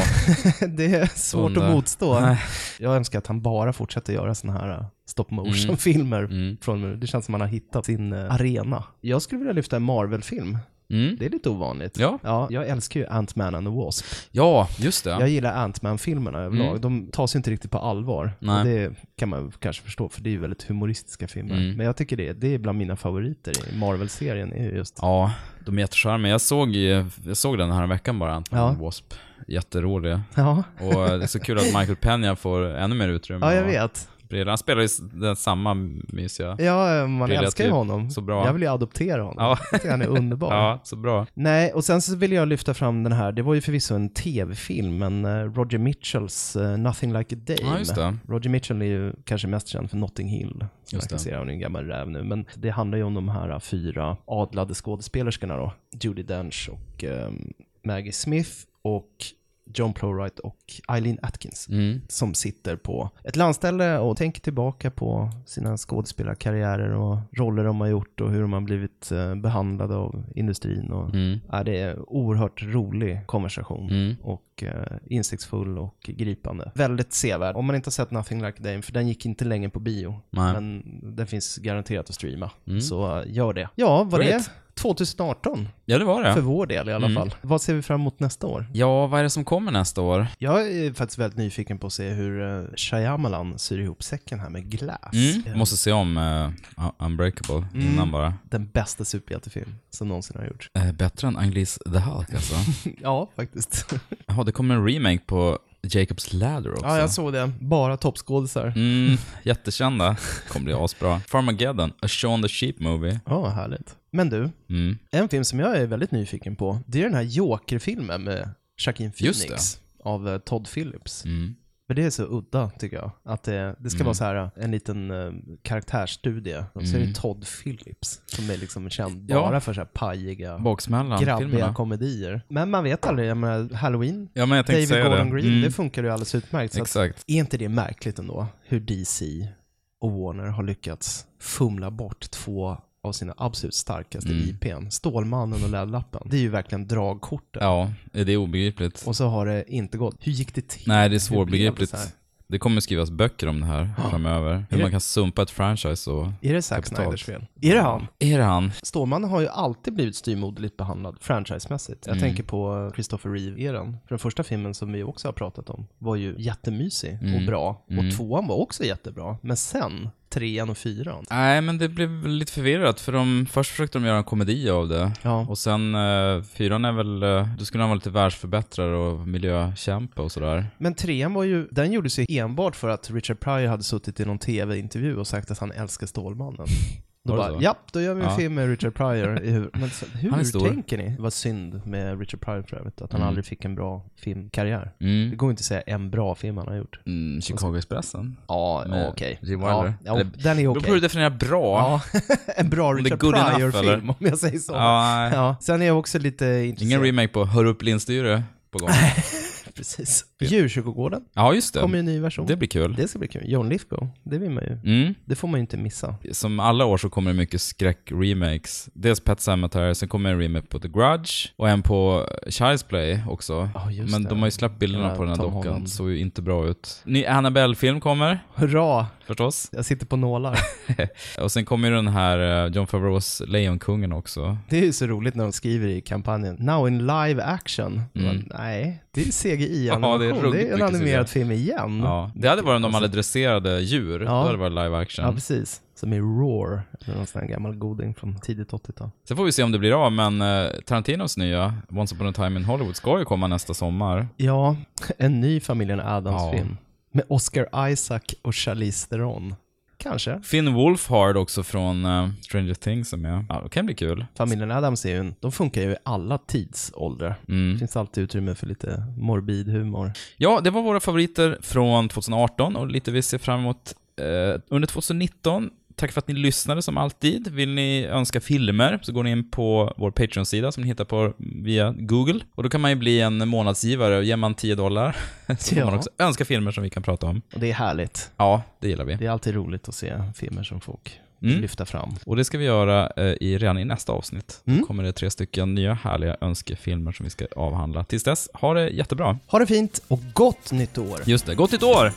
[SPEAKER 2] det är svårt
[SPEAKER 1] Hundar.
[SPEAKER 2] att motstå.
[SPEAKER 1] Nej.
[SPEAKER 2] Jag önskar att han bara fortsätter göra såna här eh, stop
[SPEAKER 1] Mm.
[SPEAKER 2] motion-filmer. Från nu. Det känns som att han har hittat sin eh, arena. Jag skulle vilja lyfta en Marvel-film.
[SPEAKER 1] Mm.
[SPEAKER 2] Det är lite ovanligt.
[SPEAKER 1] Ja.
[SPEAKER 2] ja. Jag älskar ju Ant-Man and the Wasp.
[SPEAKER 1] Ja, just det.
[SPEAKER 2] Jag gillar Ant-Man-filmerna överlag.
[SPEAKER 1] Mm.
[SPEAKER 2] De tas ju inte riktigt på allvar.
[SPEAKER 1] Nej.
[SPEAKER 2] Och det kan man kanske förstå, för det är ju väldigt humoristiska filmer.
[SPEAKER 1] Mm.
[SPEAKER 2] Men jag tycker det, det är bland mina favoriter i Marvel-serien. är ju just
[SPEAKER 1] Ja, de är jättecharmiga. Jag såg, ju- jag såg den här veckan bara, Ant-Man
[SPEAKER 2] Ja.
[SPEAKER 1] and Wasp. Jätterolig.
[SPEAKER 2] Ja.
[SPEAKER 1] Och det är så kul att Michael Peña får ännu mer utrymme.
[SPEAKER 2] Ja, jag
[SPEAKER 1] och
[SPEAKER 2] vet.
[SPEAKER 1] briller. Han spelar ju s- den samma mysiga
[SPEAKER 2] Ja, man
[SPEAKER 1] brilla
[SPEAKER 2] älskar ju
[SPEAKER 1] typ.
[SPEAKER 2] honom.
[SPEAKER 1] Så bra.
[SPEAKER 2] Jag vill ju adoptera honom.
[SPEAKER 1] Ja.
[SPEAKER 2] Jag tycker han är underbar.
[SPEAKER 1] Ja, så bra.
[SPEAKER 2] Nej, och sen så vill jag lyfta fram den här, det var ju förvisso en tv-film, men eh, Roger Mitchells eh, Nothing Like a Dame.
[SPEAKER 1] Ja, just det.
[SPEAKER 2] Roger Mitchell är ju kanske mest känd för Notting Hill, som
[SPEAKER 1] Just
[SPEAKER 2] jag kan
[SPEAKER 1] det.
[SPEAKER 2] se, hon är en gammal räv nu, men det handlar ju om de här eh, fyra adlade skådespelerskorna då, Judi Dench och eh, Maggie Smith och John Plowright och Eileen Atkins,
[SPEAKER 1] Mm,
[SPEAKER 2] som sitter på ett landställe och tänker tillbaka på sina skådespelarkarriärer och roller de har gjort och hur de har blivit eh, behandlade av industrin. Och,
[SPEAKER 1] Mm.
[SPEAKER 2] ja, det är oerhört rolig konversation
[SPEAKER 1] Mm.
[SPEAKER 2] och eh, insiktsfull och gripande. Väldigt sevärd. Om man inte har sett Nothing Like a Dame, för den gick inte länge på bio,
[SPEAKER 1] Nej.
[SPEAKER 2] men den finns garanterat att streama.
[SPEAKER 1] Mm.
[SPEAKER 2] Så eh, gör det. Ja, vad det är.
[SPEAKER 1] Great.
[SPEAKER 2] 2018.
[SPEAKER 1] Ja, det var det.
[SPEAKER 2] För vår del i alla
[SPEAKER 1] Mm.
[SPEAKER 2] fall. Vad ser vi fram emot nästa år?
[SPEAKER 1] Ja, vad är det som kommer nästa år?
[SPEAKER 2] Jag är faktiskt väldigt nyfiken på att se hur eh, Shyamalan syr ihop säcken här med Glass.
[SPEAKER 1] Mm. Måste se om eh, U- Unbreakable
[SPEAKER 2] Mm.
[SPEAKER 1] innan bara.
[SPEAKER 2] Den bästa superhjältefilm som någonsin har gjorts.
[SPEAKER 1] Eh, bättre än Anglis The Hulk alltså.
[SPEAKER 2] Ja, faktiskt.
[SPEAKER 1] Jaha, det kommer en remake på Jacob's Ladder också.
[SPEAKER 2] Ja, jag såg det. Bara toppskådisar.
[SPEAKER 1] Mm, jättekända. Kommer bli asbra. Farmageddon, A Shaun the Sheep Movie.
[SPEAKER 2] Ja, härligt. Men du,
[SPEAKER 1] Mm.
[SPEAKER 2] en film som jag är väldigt nyfiken på, det är den här Joker-filmen med Joaquin
[SPEAKER 1] Just
[SPEAKER 2] Phoenix av eh, Todd Phillips.
[SPEAKER 1] Mm.
[SPEAKER 2] För det är så udda, tycker jag. Att det, det ska
[SPEAKER 1] Mm.
[SPEAKER 2] vara så här eh, en liten eh, karaktärsstudie. Och så är det
[SPEAKER 1] Mm.
[SPEAKER 2] Todd Phillips som är liksom känd
[SPEAKER 1] Ja.
[SPEAKER 2] bara för så här pajiga,
[SPEAKER 1] Baksmällan,
[SPEAKER 2] grabbiga
[SPEAKER 1] filmerna.
[SPEAKER 2] komedier. Men man vet aldrig, jag menar, Halloween,
[SPEAKER 1] Ja, men jag tänkte
[SPEAKER 2] David
[SPEAKER 1] säga
[SPEAKER 2] Gordon
[SPEAKER 1] det.
[SPEAKER 2] Green,
[SPEAKER 1] Mm.
[SPEAKER 2] det funkar ju alldeles utmärkt. Så att-
[SPEAKER 1] Exakt.
[SPEAKER 2] Är inte det märkligt ändå, hur DC och Warner har lyckats fumla bort två av sina absolut starkaste
[SPEAKER 1] Mm.
[SPEAKER 2] IPn, Stålmannen och Lödlappen. Det är ju verkligen dragkorten.
[SPEAKER 1] Ja, det är obegripligt.
[SPEAKER 2] Och så har det inte gått. Hur gick det till?
[SPEAKER 1] Nej, det är
[SPEAKER 2] Hur blev
[SPEAKER 1] svårbegripligt.
[SPEAKER 2] så här?
[SPEAKER 1] Det kommer skrivas böcker om det här framöver. Hur
[SPEAKER 2] det-
[SPEAKER 1] man kan sumpa ett franchise och...
[SPEAKER 2] Är det Zack
[SPEAKER 1] kapital.
[SPEAKER 2] Snyders fel? Är
[SPEAKER 1] Mm.
[SPEAKER 2] det han?
[SPEAKER 1] Är det han?
[SPEAKER 2] Stålmannen har ju alltid blivit styvmoderligt behandlad, franchisemässigt. Jag
[SPEAKER 1] Mm.
[SPEAKER 2] tänker på Christopher Reeve-eran. För den första filmen som vi också har pratat om var ju jättemysig
[SPEAKER 1] Mm.
[SPEAKER 2] och bra.
[SPEAKER 1] Mm.
[SPEAKER 2] Och tvåan var också jättebra. Men sen, trean och fyran.
[SPEAKER 1] Nej, men det blev väl lite förvirrat, för de, först försökte de göra en komedi av det.
[SPEAKER 2] Ja.
[SPEAKER 1] Och sen, eh, fyran är väl, eh, då skulle han vara lite världsförbättrare och miljökämpe och sådär.
[SPEAKER 2] Men trean var ju, den gjordes ju enbart för att Richard Pryor hade suttit i någon tv-intervju och sagt att han älskar Stålmannen. Då
[SPEAKER 1] Var det
[SPEAKER 2] bara,
[SPEAKER 1] så?
[SPEAKER 2] japp, då gör vi en
[SPEAKER 1] Ja.
[SPEAKER 2] film med Richard Pryor i huvudet. Men så, hur
[SPEAKER 1] Han är stor.
[SPEAKER 2] tänker ni? Vad synd med Richard Pryor för övrigt, att han
[SPEAKER 1] Mm.
[SPEAKER 2] aldrig fick en bra filmkarriär.
[SPEAKER 1] Mm.
[SPEAKER 2] Det går inte att säga en bra film han har gjort.
[SPEAKER 1] Mm, Chicago-expressen.
[SPEAKER 2] Ja,
[SPEAKER 1] Med
[SPEAKER 2] okej.
[SPEAKER 1] Rewilder.
[SPEAKER 2] Ja, ja,
[SPEAKER 1] Eller-
[SPEAKER 2] den är
[SPEAKER 1] Beror
[SPEAKER 2] okej.
[SPEAKER 1] på hur du definierar bra.
[SPEAKER 2] Ja, en bra
[SPEAKER 1] Om det är
[SPEAKER 2] Richard
[SPEAKER 1] good enough,
[SPEAKER 2] Pryor-film
[SPEAKER 1] eller?
[SPEAKER 2] om jag säger så.
[SPEAKER 1] Ja, nej.
[SPEAKER 2] Ja. Sen är jag också lite
[SPEAKER 1] Ingen
[SPEAKER 2] intresserad.
[SPEAKER 1] remake på Hör upp Lindstyre på gång.
[SPEAKER 2] Precis. Djurkyrkogården
[SPEAKER 1] ja, just det.
[SPEAKER 2] kommer ju en ny version.
[SPEAKER 1] Det blir kul.
[SPEAKER 2] Det ska bli kul. John Lithgow, det vill man ju.
[SPEAKER 1] Mm.
[SPEAKER 2] Det får man ju inte missa.
[SPEAKER 1] Som alla år så kommer det mycket skräck-remakes. Dels Pet Sematary, sen kommer en remake på The Grudge och en på Child's Play också.
[SPEAKER 2] just
[SPEAKER 1] Men
[SPEAKER 2] det.
[SPEAKER 1] de har ju släppt bilderna
[SPEAKER 2] Ja,
[SPEAKER 1] på den här
[SPEAKER 2] Tom
[SPEAKER 1] dockan,
[SPEAKER 2] Holland.
[SPEAKER 1] såg ju inte bra ut. Ny Annabelle-film kommer.
[SPEAKER 2] Hurra!
[SPEAKER 1] Förstås.
[SPEAKER 2] Jag sitter på nålar.
[SPEAKER 1] och sen kommer ju den här eh, John Favreaus Lejonkungen också.
[SPEAKER 2] Det är ju så roligt när de skriver i kampanjen “Now in live action”.
[SPEAKER 1] Mm.
[SPEAKER 2] Men, nej, det
[SPEAKER 1] Ja,
[SPEAKER 2] är
[SPEAKER 1] det är
[SPEAKER 2] CGI-animation. det,
[SPEAKER 1] ruggigt
[SPEAKER 2] är en
[SPEAKER 1] mycket
[SPEAKER 2] animerad
[SPEAKER 1] CGI.
[SPEAKER 2] film igen.
[SPEAKER 1] Ja, det hade varit om de hade dresserade djur.
[SPEAKER 2] Alltså- Ja.
[SPEAKER 1] Då hade det varit live action.
[SPEAKER 2] Ja, precis. Som i Roar, eller någon sån här gammal goding från tidigt 80-tal.
[SPEAKER 1] Sen får vi se om det blir av, men eh, Tarantinos nya Once upon a time in Hollywood ska ju komma nästa sommar.
[SPEAKER 2] Ja, en ny familjen
[SPEAKER 1] Ja.
[SPEAKER 2] Adams-film. Med Oscar Isaac och Charlize Theron. Kanske.
[SPEAKER 1] Finn Wolfhard också från eh, Stranger Things som är Ja, det kan bli kul.
[SPEAKER 2] Familjen Adams är ju en, de funkar ju i alla tidsåldrar.
[SPEAKER 1] Mm.
[SPEAKER 2] Det finns alltid utrymme för lite morbid humor.
[SPEAKER 1] Ja, det var våra favoriter från 2018 och lite vi ser fram emot eh, under 2019. Tack för att ni lyssnade som alltid. Vill ni önska filmer så går ni in på vår Patreon-sida som ni hittar på via Google. Och då kan man ju bli en månadsgivare och ger man 10 dollar så får man
[SPEAKER 2] Ja.
[SPEAKER 1] också önska filmer som vi kan prata om.
[SPEAKER 2] Och det är härligt.
[SPEAKER 1] Ja, det gillar vi.
[SPEAKER 2] Det är alltid roligt att se filmer som folk
[SPEAKER 1] Mm.
[SPEAKER 2] lyfter fram.
[SPEAKER 1] Och det ska vi göra eh, i, redan i nästa avsnitt. Då kommer det tre stycken nya härliga önskefilmer som vi ska avhandla. Tills dess, ha det jättebra.
[SPEAKER 2] Ha det fint och gott nytt år!
[SPEAKER 1] Just det, gott nytt år!